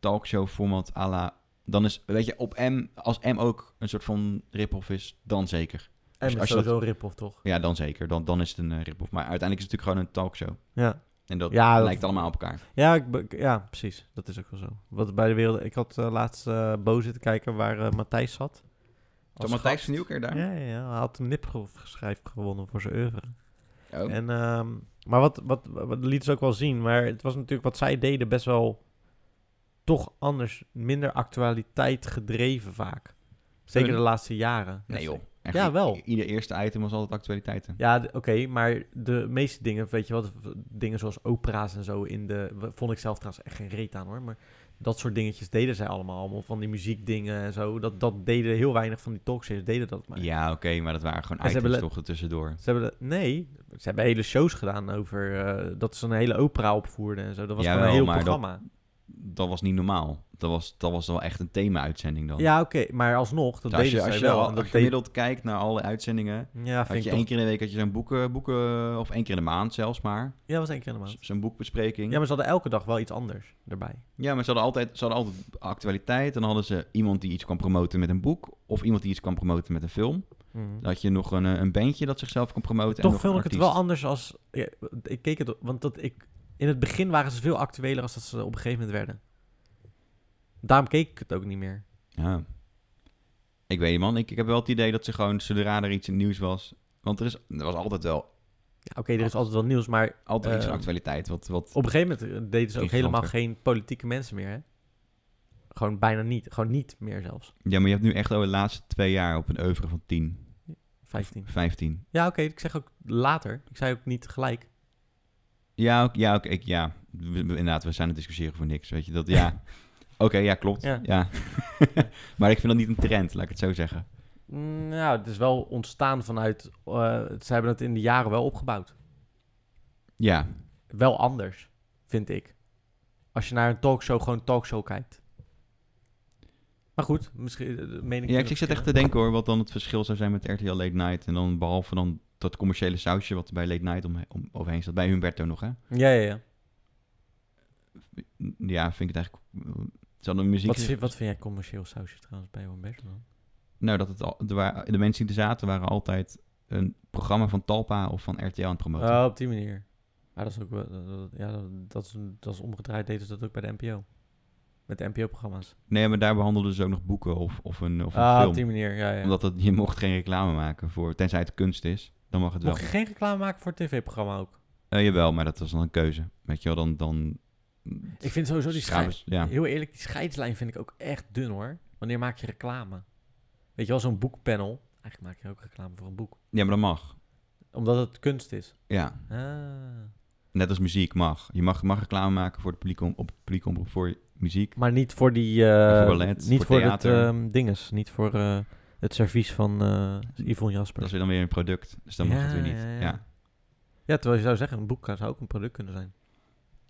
B: talkshow-format à la... Dan is, weet je, op M, als M ook een soort van rip-off is, dan zeker.
A: En
B: als
A: is
B: je dat-
A: sowieso een rip-off, toch?
B: Ja, dan zeker. Dan, dan is het een eh, rip-off. Maar uiteindelijk is het natuurlijk gewoon een talkshow.
A: Ja,
B: En dat
A: Ja, dat-
B: lijkt allemaal op elkaar.
A: ja, ik be- ja precies. Dat is ook wel zo. Wat bij de wereld... Ik had eh, laatst eh Bo zitten kijken waar eh, Matthijs zat.
B: Zo
A: Als
B: Matthijs
A: gast.
B: van Nieuwkerk daar?
A: Ja, ja, ja, hij had een nipgeschrijf gewonnen voor zijn oeuvre.
B: Oh.
A: En, ehm, maar wat, wat, wat liet ze ook wel zien. Maar het was natuurlijk wat zij deden best wel toch anders. Minder actualiteit gedreven vaak. Zeker de
B: Hun?
A: laatste jaren. Dus
B: Nee joh. Echt,
A: Ja, wel.
B: i- Ieder eerste item was altijd actualiteiten.
A: Ja, d- oké, maar de meeste dingen, weet je wat, dingen zoals opera's en zo in de, w- vond ik zelf trouwens echt geen reet aan hoor, maar dat soort dingetjes deden zij allemaal, allemaal van die muziekdingen en zo, dat, dat deden heel weinig van die talkshows, deden dat maar.
B: Ja, oké, maar dat waren gewoon
A: En ze
B: items
A: hebben le-
B: toch er tussendoor.
A: Ze hebben, de- nee, ze hebben hele shows gedaan over, eh, dat ze een hele opera opvoerden en zo, dat was gewoon een
B: Jawel,
A: heel
B: maar dat-
A: programma.
B: Dat was niet normaal. Dat was, dat was wel echt een thema-uitzending dan.
A: Ja, oké, maar alsnog, dat
B: Dus
A: deden
B: als je,
A: zij
B: als je,
A: wel.
B: wel,
A: en
B: als
A: dat
B: je
A: deed-
B: gemiddeld kijkt naar alle uitzendingen,
A: ja, vind
B: had
A: ik
B: je
A: toch,
B: één keer in de week had je zo'n boeken, boeken, of één keer in de maand zelfs maar,
A: ja, dat was één keer in de
B: z-
A: maand.
B: zo'n boekbespreking.
A: Ja, maar ze hadden elke dag wel iets anders erbij.
B: Ja, maar ze hadden, altijd, ze hadden altijd actualiteit. En dan hadden ze iemand die iets kwam promoten met een boek, of iemand die iets kwam promoten met een film.
A: Mhm.
B: Dan had je nog een, eh, een bandje dat zichzelf kon promoten. en
A: Toch
B: nog
A: vond
B: een
A: ik het
B: artiest.
A: wel anders als. ja, ik keek het, want dat ik. In het begin waren ze veel actueler als dat ze op een gegeven moment werden. Daarom keek ik het ook niet meer.
B: Ja. Ik weet niet, man. Ik, ik heb wel het idee dat ze gewoon, zodra er iets in het nieuws was... Want er, is, er was altijd wel
A: Ja, Oké, er is altijd wel nieuws, maar
B: altijd iets van
A: Eh,
B: actualiteit. Wat, wat,
A: op een gegeven moment eh, deden ze ook
B: Geen
A: helemaal
B: granter.
A: geen politieke mensen meer, hè? Gewoon bijna niet. Gewoon niet meer zelfs.
B: Ja, maar je hebt nu echt over de laatste twee jaar op een oeuvre van 10,
A: 15.
B: 15.
A: Ja, oké, ik zeg ook later. Ik zei ook niet gelijk.
B: Ja, ook- ja, ook- ik, ja. We- we- inderdaad, we zijn aan het discussiëren voor niks, weet je. Dat, ja. Oké, ja, klopt.
A: Ja.
B: Ja. maar ik vind dat niet een trend, laat ik het zo zeggen.
A: Mm, nou, het is wel ontstaan vanuit. eh, ze hebben het in de jaren wel opgebouwd.
B: Ja,
A: Wel anders, vind ik. Als je naar een talkshow gewoon talkshow kijkt. Maar goed, misschien eh, meen ik...
B: ja ik, ik zit echt te denken hoor, wat dan het verschil zou zijn met RTL Late Night. En dan behalve dan dat commerciële sausje wat er bij Late Night om, om, overheen staat. Bij Humberto nog, hè.
A: Ja, ja, ja.
B: Ja, vind ik het eigenlijk... eh, Zou de muziek...
A: Wat, vind- wat vind jij commercieel sausje trouwens bij Juan Bergman?
B: Nou, dat het al, er wa- de mensen die er zaten waren altijd een programma van Talpa of van RTL aan het promoten.
A: Oh, op die manier. Maar dat is ook wel... dat- dat- Ja, dat, dat, is, dat is omgedraaid. Deden ze dat ook bij de NPO. Met de NPO-programma's.
B: Nee, maar daar behandelden ze ook nog boeken of, of een, of een
A: Ah, op
B: film.
A: die manier, ja, ja.
B: Omdat het, je mocht geen reclame maken voor, tenzij het kunst is, dan mag het wel.
A: Mocht je geen reclame maken voor het tv-programma ook?
B: Eh, jawel, maar dat was dan een keuze. Weet je wel, dan... dan
A: Ik vind sowieso die
B: schamen
A: scheids...
B: ze- Ja.
A: Heel eerlijk, die scheidslijn vind ik ook echt dun, hoor. Wanneer maak je reclame? Weet je wel, zo'n boekpanel. Eigenlijk maak je ook reclame voor een boek.
B: ja, maar dat mag.
A: Omdat het kunst is.
B: Ja,
A: Ah.
B: net als muziek mag. Je mag, mag reclame maken voor het publiek om, op het publiek omroep voor muziek.
A: Maar niet voor die... eh,
B: Voor ballet,
A: niet
B: voor
A: voor, het
B: theater.
A: ehm, dinges. Niet voor eh, het servies van eh Yvonne Jasper.
B: Dat is weer dan weer een product, dus dan mag het weer niet. Ja, ja.
A: Ja, terwijl je zou zeggen, een boek kan- zou ook een product kunnen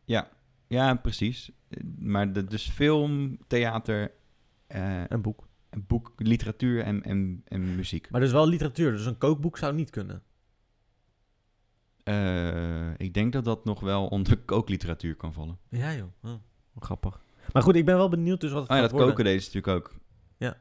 A: zijn.
B: precies. Eh, Maar de, dus film, theater, eh,
A: Een boek.
B: boek, literatuur en, en, en muziek.
A: Maar dus wel literatuur. Dus een kookboek zou niet kunnen.
B: Eh, ik denk dat dat nog wel onder kookliteratuur kan vallen.
A: Ja, joh. Oh, wat grappig. Maar goed, ik ben wel benieuwd dus wat het
B: Oh ja,
A: gaat
B: dat
A: worden.
B: koken deden ze natuurlijk ook.
A: Ja.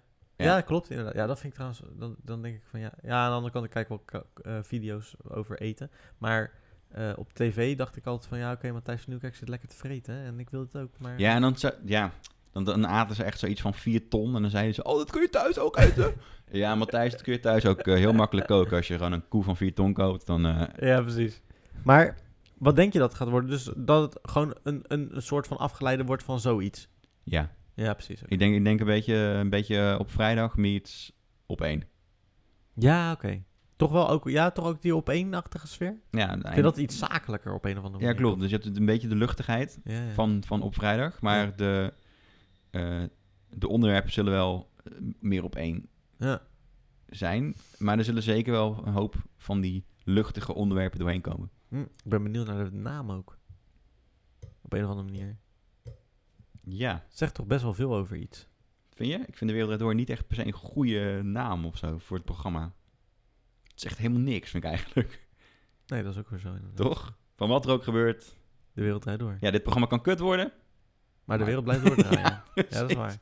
B: ja.
A: klopt inderdaad. Ja, dat vind ik trouwens... Dan, dan denk ik van ja... Ja, aan de andere kant, ik kijk wel ko- eh, video's over eten. Maar eh, op tv dacht ik altijd van... Ja, oké, Matthijs van Nieuwkerk zit lekker te vreten. hè, En ik wil het ook, maar...
B: Ja, en dan, zou- ja, dan, dan aten ze echt zoiets van 4 ton. En dan zeiden ze, oh, dat kun je thuis ook eten. ja, Matthijs, dat kun je thuis ook eh, heel makkelijk koken. Als je gewoon een koe van 4 ton koopt, dan... eh,
A: Ja, precies. Maar wat denk je dat het gaat worden? Dus dat het gewoon een, een, een soort van afgeleide wordt van zoiets.
B: ja,
A: Ja, precies.
B: ik denk, ik denk een, beetje, een beetje op vrijdag meets op één.
A: Ja, oké. Toch wel ook, ja, toch ook die opeenachtige sfeer? Ik
B: Ja,
A: vind dat iets zakelijker op een of andere
B: ja,
A: manier.
B: klopt. Dus je hebt een beetje de luchtigheid
A: Ja, ja.
B: van, van op vrijdag. Maar
A: Ja.
B: de, eh, de onderwerpen zullen wel eh, meer op één
A: Ja.
B: zijn. Maar er zullen zeker wel een hoop van die luchtige onderwerpen doorheen komen.
A: Hm, ik ben benieuwd naar de naam ook. Op een of andere manier.
B: Ja.
A: Zegt toch best wel veel over iets.
B: Vind je? Ik vind de Wereld Draait Door niet echt per se een goede naam of zo voor het programma. Het is echt helemaal niks, vind ik eigenlijk.
A: Nee, dat is ook weer zo. inderdaad.
B: Toch? Van wat er ook gebeurt.
A: De wereld draait door.
B: Ja, dit programma kan kut worden.
A: Maar de
B: Maar-
A: wereld blijft doordraaien. ja,
B: precies.
A: dat is waar.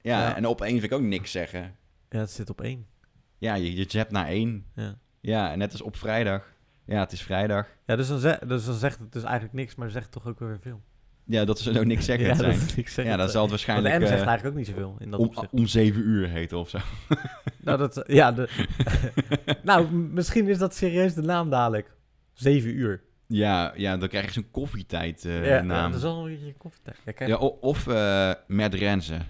B: Ja,
A: Ja.
B: en opeens wil ik ook niks zeggen.
A: Ja, het zit op één.
B: Ja, je, je japt naar één.
A: Ja.
B: Ja, en net als op vrijdag. Ja, het is vrijdag.
A: Ja, dus dan, ze- dus dan zegt het dus eigenlijk niks, maar zegt toch ook weer veel.
B: Ja, dat ze zo niks zeggen
A: ja,
B: zijn.
A: ik zeg
B: ja, dan zal het
A: Want de
B: waarschijnlijk
A: M zegt
B: eh,
A: eigenlijk ook niet zoveel in dat
B: om,
A: opzicht.
B: om zeven uur heten of zo.
A: Nou, dat, ja, de, nou, m- misschien is dat serieus de naam dadelijk. Zeven uur.
B: Ja, ja, dan krijg je zo'n koffietijd eh,
A: ja, ja,
B: naam.
A: dat is al een beetje je koffietijd. Ja, kijk,
B: Ja, o- of eh Matt Rensen.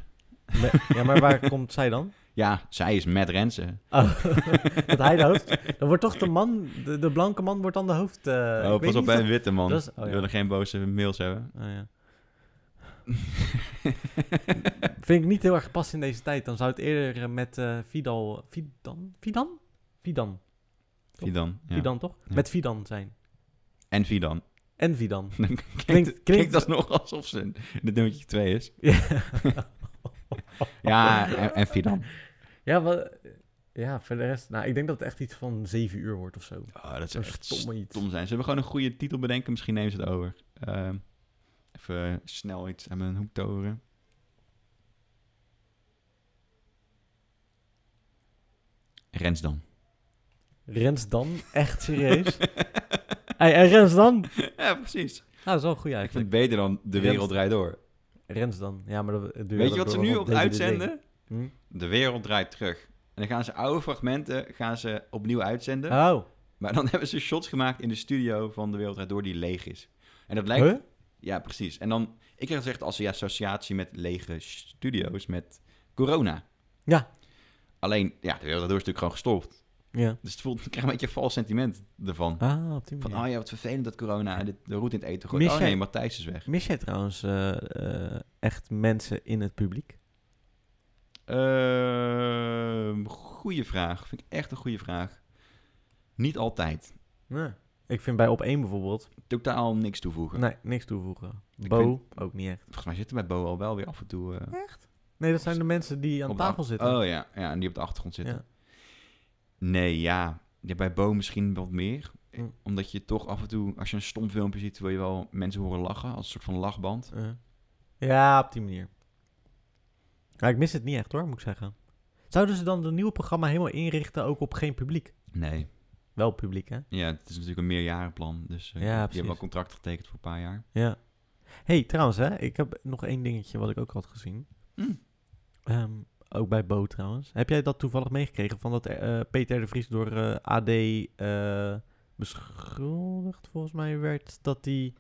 A: me- ja, maar waar komt zij dan?
B: Ja, zij is Matt Rensen.
A: Oh, dat hij Eh, de hoofd... Dan wordt toch de man, de, de blanke man wordt dan de hoofd... eh, ik
B: oh,
A: weet
B: pas
A: niet
B: op bij
A: of-
B: een witte man.
A: dat is- oh,
B: We
A: ja.
B: willen geen boze mails hebben.
A: Oh, ja. Vind ik niet heel erg gepast in deze tijd. Dan zou het eerder eh, met eh, Vidal... Vidan? Vidan? Vidan.
B: Vidan. Ja.
A: Vidan, toch?
B: Ja.
A: Met Vidan zijn.
B: En Vidan.
A: En Vidan.
B: Klinkt,
A: Klinkt-
B: klinkt,
A: klinkt-
B: alsnog alsof ze een- de nummertje 2 is.
A: Ja.
B: Ja,
A: Oh.
B: en, en Vidan.
A: Ja, wat, ja, voor de rest. Nou, ik denk dat het echt iets van 7 uur wordt of zo.
B: Oh, dat is
A: Zo'n
B: echt stom,
A: stomme iets.
B: zijn. Ze hebben gewoon een goede titel bedenken. Misschien nemen ze het over. Ehm, even eh, snel iets aan mijn hoek toveren. Rens dan.
A: Rens dan? Echt serieus? hey, en Rens dan? Nou,
B: ja, precies.
A: dat is wel goed
B: Ik vind
A: eigenlijk.
B: het beter dan De
A: Rens-
B: Wereld Draait Door.
A: Rens dan. Ja, maar dat, het duurt
B: Weet je
A: wel
B: wat ze
A: door,
B: nu
A: want
B: op
A: DWDD.
B: uitzenden?
A: Hm?
B: De wereld draait terug. En dan gaan ze oude fragmenten gaan ze opnieuw uitzenden.
A: Oh,
B: Maar dan hebben ze shots gemaakt in de studio van De Wereld Draait Door die leeg is. En dat lijkt...
A: huh?
B: Ja, precies. En dan... Ik krijg het echt als ja, associatie met lege studio's met corona.
A: Ja.
B: Alleen, ja, De Wereld Draait Door is natuurlijk gewoon gestopt.
A: Ja.
B: Dus het voelt... Ik krijg een beetje een vals sentiment ervan.
A: Ah, op die
B: Van,
A: manier.
B: oh ja, wat vervelend dat corona en dit, de roet in het eten gooit.
A: Mis
B: Oh
A: jij-
B: nee, Matthijs is weg.
A: Mis jij trouwens eh, eh, echt mensen in het publiek?
B: Ehm goeie vraag. Vind ik echt een goede vraag. Niet altijd.
A: Ik vind bij op één bijvoorbeeld...
B: Totaal niks toevoegen.
A: Nee, niks toevoegen.
B: Ik
A: Bo,
B: vind-
A: ook niet echt.
B: Volgens mij zitten bij Bo al wel weer af en toe... eh,
A: Nee, dat zijn de mensen die aan
B: op de
A: tafel
B: ach-
A: zitten.
B: Oh ja, ja, en die op de achtergrond zitten.
A: Ja.
B: Nee, ja. ja. Bij Bo misschien wat meer. Eh,
A: Hm.
B: Omdat je toch af en toe, als je een stom filmpje ziet, wil je wel mensen horen lachen. Als een soort van lachband.
A: Eh. Ja, op die manier. Maar ik mis het niet echt hoor, moet ik zeggen. Zouden ze dan het nieuwe programma helemaal inrichten ook op geen publiek?
B: Nee.
A: Wel publiek, hè?
B: Ja, het is natuurlijk een meerjarenplan. Dus eh
A: Ja,
B: je
A: precies.
B: hebt wel contract getekend voor een paar jaar.
A: Ja. hey, trouwens, hè, ik heb nog één dingetje wat ik ook had gezien.
B: Hm.
A: Ehm, ook bij Bo trouwens. Heb jij dat toevallig meegekregen van dat eh, Peter R. de Vries door eh, AD eh, beschuldigd, volgens mij, werd dat hij.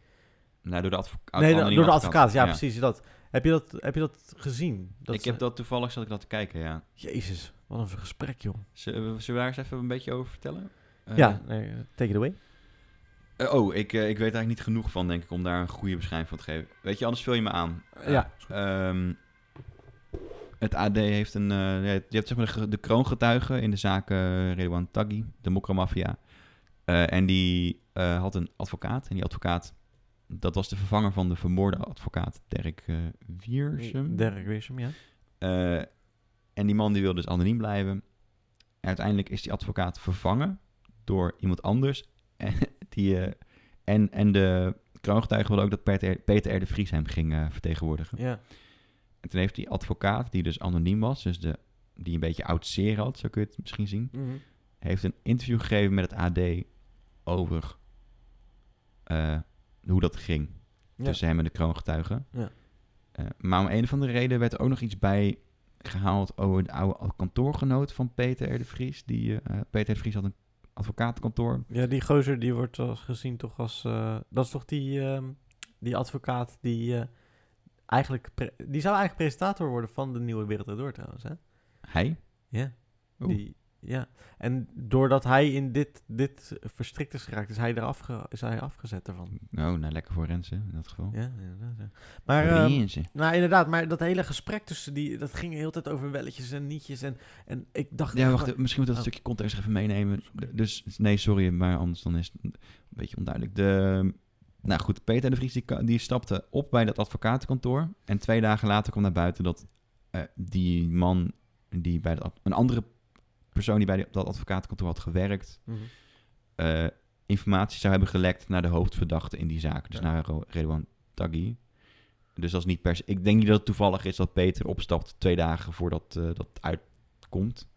B: Nou, door de, advoca-
A: nee,
B: anonieme
A: door de advocaat, ja, precies. Dat. Heb, je dat, heb je dat gezien? Dat eh,
B: ik
A: ze-
B: heb dat toevallig, zat ik dat te kijken, ja.
A: Jezus, wat een gesprek, joh.
B: Zullen we, zullen we daar eens even een beetje over vertellen? Eh,
A: ja, nee, take it away.
B: eh, oh, ik, eh, ik weet eigenlijk niet genoeg van, denk ik, om daar een goede beschrijving van te geven. Weet je, anders vul je me aan.
A: ja.
B: Ehm, het AD heeft een... eh, ja, je hebt zeg maar de, ge- de kroongetuigen in de zaak eh, Redouan Taghi, de mokromafia. Eh en die eh, had een advocaat. En die advocaat, dat was de vervanger van de vermoorde advocaat Dirk eh, Wiersum.
A: Derek Weersum, ja.
B: Eh, en die man die wil dus anoniem blijven. En uiteindelijk is die advocaat vervangen door iemand anders. En, die, eh, en, en de kroongetuige wilde ook dat Peter, Peter R. de Vries hem ging eh, vertegenwoordigen.
A: Ja.
B: En toen heeft die advocaat, die dus anoniem was, dus de, die een beetje oud zeer had, zo kun je het misschien zien,
A: Mhm.
B: heeft een interview gegeven met het AD over eh, hoe dat ging
A: Ja.
B: tussen hem en de kroongetuigen.
A: Ja.
B: Eh, maar om een of andere reden werd er ook nog iets bij gehaald over een oude kantoorgenoot van Peter R. de Vries. Die, eh, Peter R. de Vries had een advocatenkantoor.
A: ja, die gozer die wordt eh, gezien toch als... eh, dat is toch die, ehm, die advocaat die eh, eigenlijk... pre- die zou eigenlijk presentator worden van de Nieuwe Wereld Door trouwens, hè?
B: Hij?
A: Ja.
B: Oeh.
A: Die, ja. En doordat hij in dit, dit verstrikt is geraakt, is hij, eraf ge- is hij afgezet ervan.
B: Oh, nou lekker voor Rensen in dat geval.
A: Ja, inderdaad. ja. Maar... ehm,
B: Rensen.
A: nou, inderdaad, maar dat hele gesprek tussen die... Dat ging de hele tijd over welletjes en nietjes en... En ik dacht...
B: Ja,
A: echt,
B: wacht, misschien moet dat
A: Oh.
B: stukje context even meenemen. D- Dus, nee, sorry, maar anders dan is het een beetje onduidelijk. De, nou goed, Peter de Vries die, ka- die stapte op bij dat advocatenkantoor. En twee dagen later kwam naar buiten dat eh, die man, die bij dat, ad- een andere persoon die bij die- dat advocatenkantoor had gewerkt,
A: Mhm.
B: eh, informatie zou hebben gelekt naar de hoofdverdachte in die zaak. Dus
A: Ja.
B: naar Ro- Redouan Taghi. Dus dat is niet per se... Ik denk niet dat het toevallig is dat Peter opstapt twee dagen voordat eh, dat uitkomt.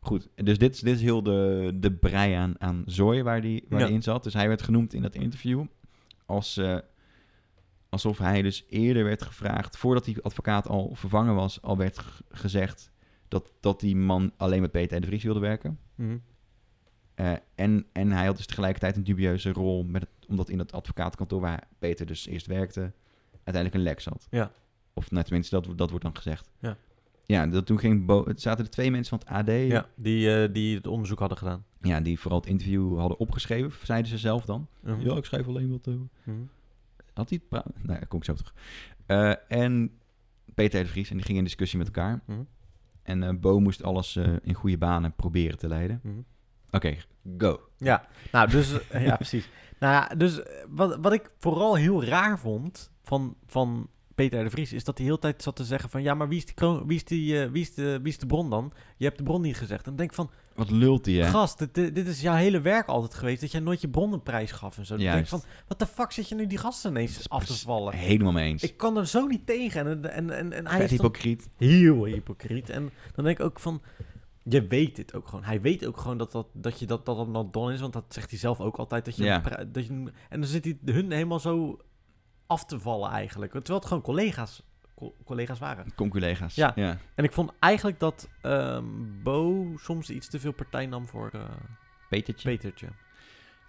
B: Goed, dus dit, is- dit is heel de, de brei aan, aan zooi waar die waar
A: Ja.
B: die in zat. Dus hij werd genoemd in dat interview als, eh, alsof hij dus eerder werd gevraagd... voordat die advocaat al vervangen was, al werd g- gezegd... Dat, dat die man alleen met Peter en de Vries wilde werken.
A: Mhm.
B: Eh, en, en hij had dus tegelijkertijd een dubieuze rol, met het, omdat in dat advocatenkantoor waar Peter dus eerst werkte, uiteindelijk een lek zat.
A: Ja.
B: Of nou, tenminste, dat, wordt- dat wordt dan gezegd.
A: Ja.
B: Ja, dat, toen ging Bo- het zaten er twee mensen van het AD,
A: Ja, die, eh, die het onderzoek hadden gedaan.
B: ja, die vooral het interview hadden opgeschreven, zeiden ze zelf dan.
A: Mhm.
B: Ja, ik schrijf alleen wat... eh,
A: Mhm.
B: had hij het pra- Nou, daar kom ik zo op terug. Eh, en Peter R. de Vries, en die gingen in discussie met elkaar.
A: Mhm.
B: En eh, Bo moest alles eh, in goede banen proberen te leiden.
A: Mhm.
B: Oké, go.
A: Ja, nou, dus... eh, ja, precies. Nou ja, dus eh, wat, wat ik vooral heel raar vond van, van Peter R. de Vries... is dat hij heel tijd zat te zeggen van... ja, maar wie is, die kroon- wie, is die, eh, wie, is de, wie is de bron dan? Je hebt de bron niet gezegd. En dan denk ik van,
B: Wat lult hij, hè?
A: gast, dit, dit dit is jouw hele werk altijd geweest... dat jij nooit je bronnenprijs gaf en zo. Dan denk ik
B: Juist.
A: van, wat de fuck zit je nu die gasten
B: Dat
A: ineens
B: is
A: af te
B: precies-
A: vallen?
B: Helemaal mee eens.
A: Ik kan er zo niet tegen. En, en, en, en hij
B: Vet
A: is dan
B: hypocriet.
A: heel hypocriet. En dan denk ik ook van... Je weet dit ook gewoon. Hij weet ook gewoon dat dat, dat, je dat, dat allemaal don is. Want dat zegt hij zelf ook altijd. Dat je,
B: Ja.
A: pra- dat je, en dan zit hij hun helemaal zo af te vallen eigenlijk. Terwijl het gewoon collega's, co- collega's waren.
B: Kom collega's.
A: Ja.
B: ja.
A: En ik vond eigenlijk dat ehm, Bo soms iets te veel partij nam voor eh,
B: Petertje.
A: Petertje.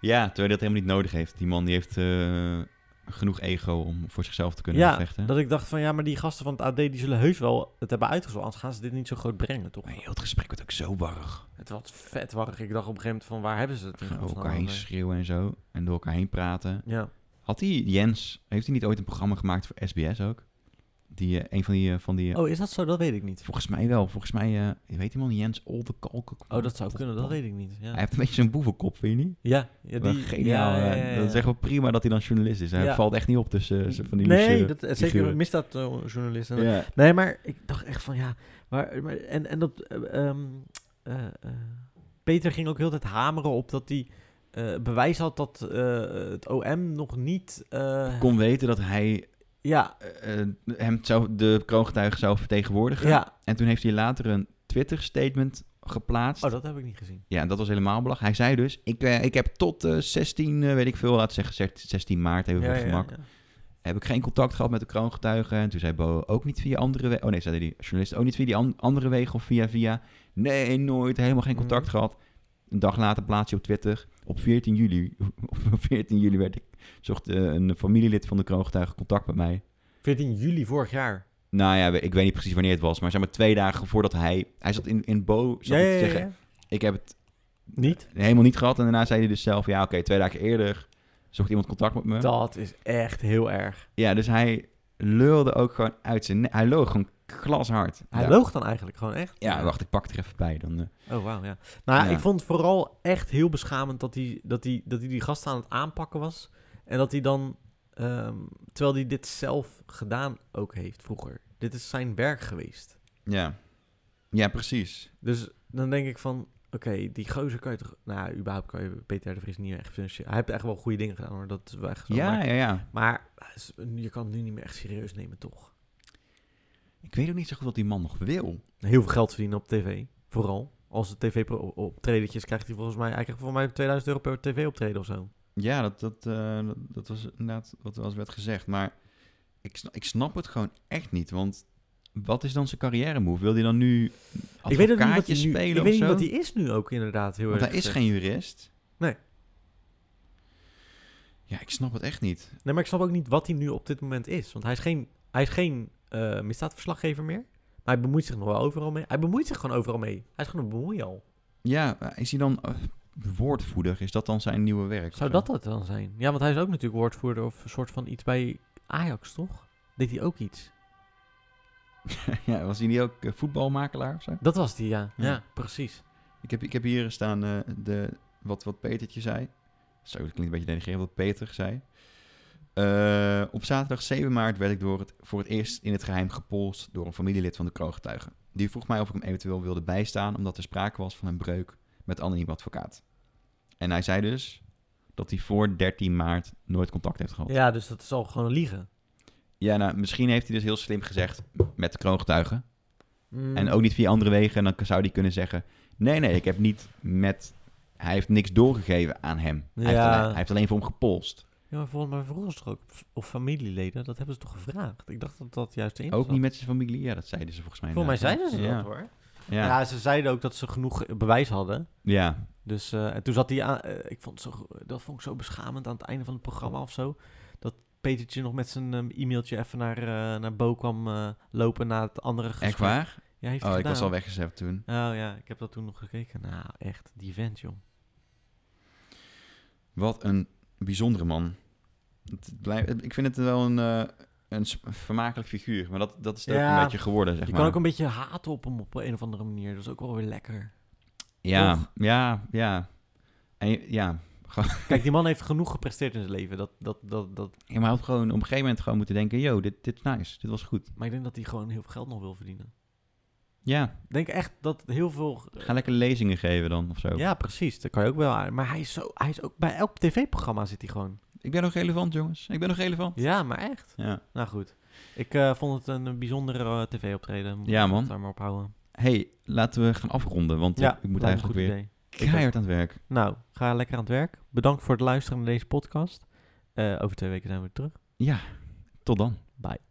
B: ja, terwijl hij dat helemaal niet nodig heeft. Die man die heeft eh, genoeg ego om voor zichzelf te kunnen
A: Ja,
B: vechten.
A: Dat ik dacht van ja, maar die gasten van het AD die zullen heus wel het hebben uitgezocht. Anders gaan ze dit niet zo groot brengen, toch?
B: Maar heel het gesprek wordt ook zo warrig.
A: Het was vet warrig. Ik dacht op een gegeven moment van waar hebben ze het? in
B: Gaan over
A: godsnaam
B: elkaar heen
A: over?
B: schreeuwen en zo. En door elkaar heen praten.
A: Ja.
B: Had hij, Jens, heeft hij niet ooit een programma gemaakt voor SBS ook? Die, eh, een van die, eh, van die eh,
A: Oh, is dat zo? Dat weet ik niet.
B: volgens mij wel. Volgens mij, eh, weet iemand, Jens Oldekalk.
A: Oh, dat zou kunnen. Dat weet ik niet.
B: Hij
A: Ja,
B: heeft een beetje zo'n boevenkop, vind je niet?
A: ja, ja
B: Wel
A: die...
B: Geniaal.
A: ja,
B: eh,
A: ja, ja, ja.
B: Dat is echt wel prima dat hij dan journalist is. Hij
A: Ja.
B: valt echt niet op tussen eh, van die
A: Nee,
B: luxe
A: dat, eh, zeker
B: figuren.
A: misdaadjournalisten.
B: Ja.
A: Nee, maar ik dacht echt van ja... Maar, maar, en, en dat... eh, ehm, eh, eh, Peter ging ook heel de tijd hameren op dat hij eh, bewijs had dat eh, het OM nog niet... eh,
B: kon weten dat hij
A: ja,
B: eh, eh, hem zou, de kroongetuige zou vertegenwoordigen.
A: ja.
B: En toen heeft hij later een Twitter-statement geplaatst.
A: Oh, dat heb ik niet gezien.
B: Ja, dat was helemaal belachelijk. Hij zei dus, ik, eh, ik heb tot eh, 16, eh, weet ik veel, laten we zeggen 16 maart, even voor
A: ja,
B: het
A: ja,
B: gemak,
A: ja.
B: heb ik geen contact gehad met de kroongetuige. En toen zei Bo, ook niet via andere wegen. Oh nee, zei die journalist, ook niet via die an- andere wegen of via via. Nee, nooit, helemaal geen contact
A: Mhm.
B: gehad. Een dag later plaats je op Twitter, op 14 juli, op 14 juli werd ik, zocht eh, een familielid van de kroongetuige contact met mij.
A: 14 juli vorig jaar.
B: Nou ja, we- ik weet niet precies wanneer het was, maar zeg maar twee dagen voordat hij... Hij zat in, in Bo, zat hij te zeggen, ik heb het
A: Niet?
B: helemaal niet gehad. En daarna zei hij dus zelf, ja oké, twee dagen eerder zocht iemand contact met me.
A: Dat is echt heel erg.
B: Ja, dus hij lulde ook gewoon uit zijn... ne- Hij lulde gewoon glashard.
A: Hij
B: ja.
A: loog dan eigenlijk gewoon echt.
B: Ja, wacht, ik pak het er even bij dan. eh.
A: Oh, wauw, ja. Nou, ja,
B: Ja.
A: ik vond het vooral echt heel beschamend dat hij, dat, hij, dat hij die gast aan het aanpakken was. En dat hij dan, ehm, terwijl hij dit zelf gedaan ook heeft vroeger. Dit is zijn werk geweest.
B: Ja. ja, precies.
A: Dus dan denk ik van, oké, die gozer kan je toch... Nou, ja, überhaupt kan je Peter R. de Vries niet echt financieel... Hij heeft echt wel goede dingen gedaan hoor, dat is wel echt zo.
B: Ja,
A: maar,
B: ja, ja.
A: maar je kan het nu niet meer echt serieus nemen, toch?
B: Ik weet ook niet zo goed wat die man nog wil.
A: Heel veel geld verdienen op tv, vooral. Als het tv-optredetjes krijgt hij volgens mij... Hij krijgt volgens mij 2000 euro per tv-optreden of zo.
B: Ja, dat, dat, eh, dat, dat was inderdaad wat er al werd gezegd. Maar ik, sna- ik snap het gewoon echt niet. Want wat is dan zijn carrière move? Wil hij dan nu
A: Ik weet ook niet wat
B: advocaatje
A: hij nu,
B: spelen
A: Ik weet
B: of
A: niet
B: zo?
A: wat hij is nu ook inderdaad. Heel
B: Want
A: erg
B: hij is geen jurist.
A: Nee.
B: Ja, ik snap het echt niet.
A: Nee, maar ik snap ook niet wat hij nu op dit moment is. Want hij is geen, hij is geen eh, misdaadverslaggever meer. Maar hij bemoeit zich nog wel overal mee. Hij bemoeit zich gewoon overal mee. Hij is gewoon een bemoeial.
B: Ja, eh, is hij dan eh, woordvoerder? Is dat dan zijn nieuwe werk?
A: Zou
B: of
A: dat
B: zo?
A: dat dan zijn? Ja, want hij is ook natuurlijk woordvoerder of een soort van iets bij Ajax, toch? Deed hij ook iets?
B: ja, was hij niet ook eh, voetbalmakelaar of zo?
A: Dat was die, ja. Ja,
B: Ja.
A: precies.
B: Ik heb, ik heb hier staan eh, de, wat, wat Petertje zei. Zo, dat klinkt een beetje denigrerend wat Peter zei. Eh, op zaterdag 7 maart werd ik door het, voor het eerst in het geheim gepolst door een familielid van de kroongetuige. Die vroeg mij of ik hem eventueel wilde bijstaan omdat er sprake was van een breuk met anoniem advocaat. En hij zei dus dat hij voor 13 maart nooit contact heeft gehad. Ja,
A: Ja, dus dat is al gewoon liegen.
B: nou, misschien heeft hij dus heel slim gezegd met de kroongetuigen.
A: Mm.
B: En ook niet via andere wegen. En dan zou hij kunnen zeggen: Nee, nee, ik heb niet met. Hij heeft niks doorgegeven aan hem. Hij, heeft
A: Ja.
B: alleen, hij heeft alleen voor hem gepolst.
A: Ja, maar volgens mij vroegen ze toch ook, of familieleden, dat hebben ze toch gevraagd? Ik dacht dat dat juist de inzet
B: Ook niet met zijn familie. Ja, dat zeiden ze volgens mij.
A: zat. Volgens mij zeiden
B: inderdaad.
A: ze
B: ja.
A: dat hoor. Ja.
B: Ja. Ja.
A: ze zeiden ook dat ze genoeg bewijs hadden. Dus eh, en toen zat hij aan, eh, ik vond het zo, dat vond ik zo beschamend aan het einde van het programma of zo. Dat Petertje nog met zijn ehm, e-mailtje even naar, eh, naar Bo kwam eh, lopen na het andere gesprek.
B: Echt waar?
A: Ja, heeft hij
B: Oh, ik
A: gedaan.
B: was al weggezet toen.
A: Oh ja, ik heb dat toen nog gekeken. Nou, echt, die vent, joh.
B: Wat een bijzondere man. Het blijft- ik vind het wel een, eh, een s- vermakelijk figuur. Maar dat, dat is het ook
A: Ja.
B: een beetje geworden, zeg
A: Je
B: maar.
A: kan ook een beetje haten op hem op een of andere manier. Dat is ook wel weer lekker.
B: ja,
A: Toch?
B: ja, ja. En je- ja.
A: Kijk, die man heeft genoeg gepresteerd in zijn leven. Dat, dat, dat, dat.
B: Ja, maar hij had gewoon op een gegeven moment gewoon moeten denken... Yo, dit, dit is nice. Dit was goed.
A: Maar ik denk dat hij gewoon heel veel geld nog wil verdienen.
B: Ja,
A: Ik denk echt dat heel veel...
B: ga lekker lezingen geven dan, of zo.
A: Ja, precies. Dat kan je ook wel aan. Maar hij is, zo, hij is ook... Bij elk tv-programma zit hij gewoon.
B: Ik ben nog relevant, jongens. Ik ben nog relevant.
A: Ja, maar echt.
B: Ja.
A: Nou goed. Ik eh, vond het een bijzondere eh, tv-optreden. Moet
B: Ja,
A: ik
B: man.
A: het Daar maar op houden.
B: hey, laten we gaan afronden. Want ik- ik
A: lijkt me een
B: moet
A: goed
B: eigenlijk weer
A: idee.
B: keihard aan het werk.
A: Nou, ga lekker aan het werk. Bedankt voor het luisteren naar deze podcast. Eh, over twee weken zijn we weer terug.
B: Tot dan.
A: Bye.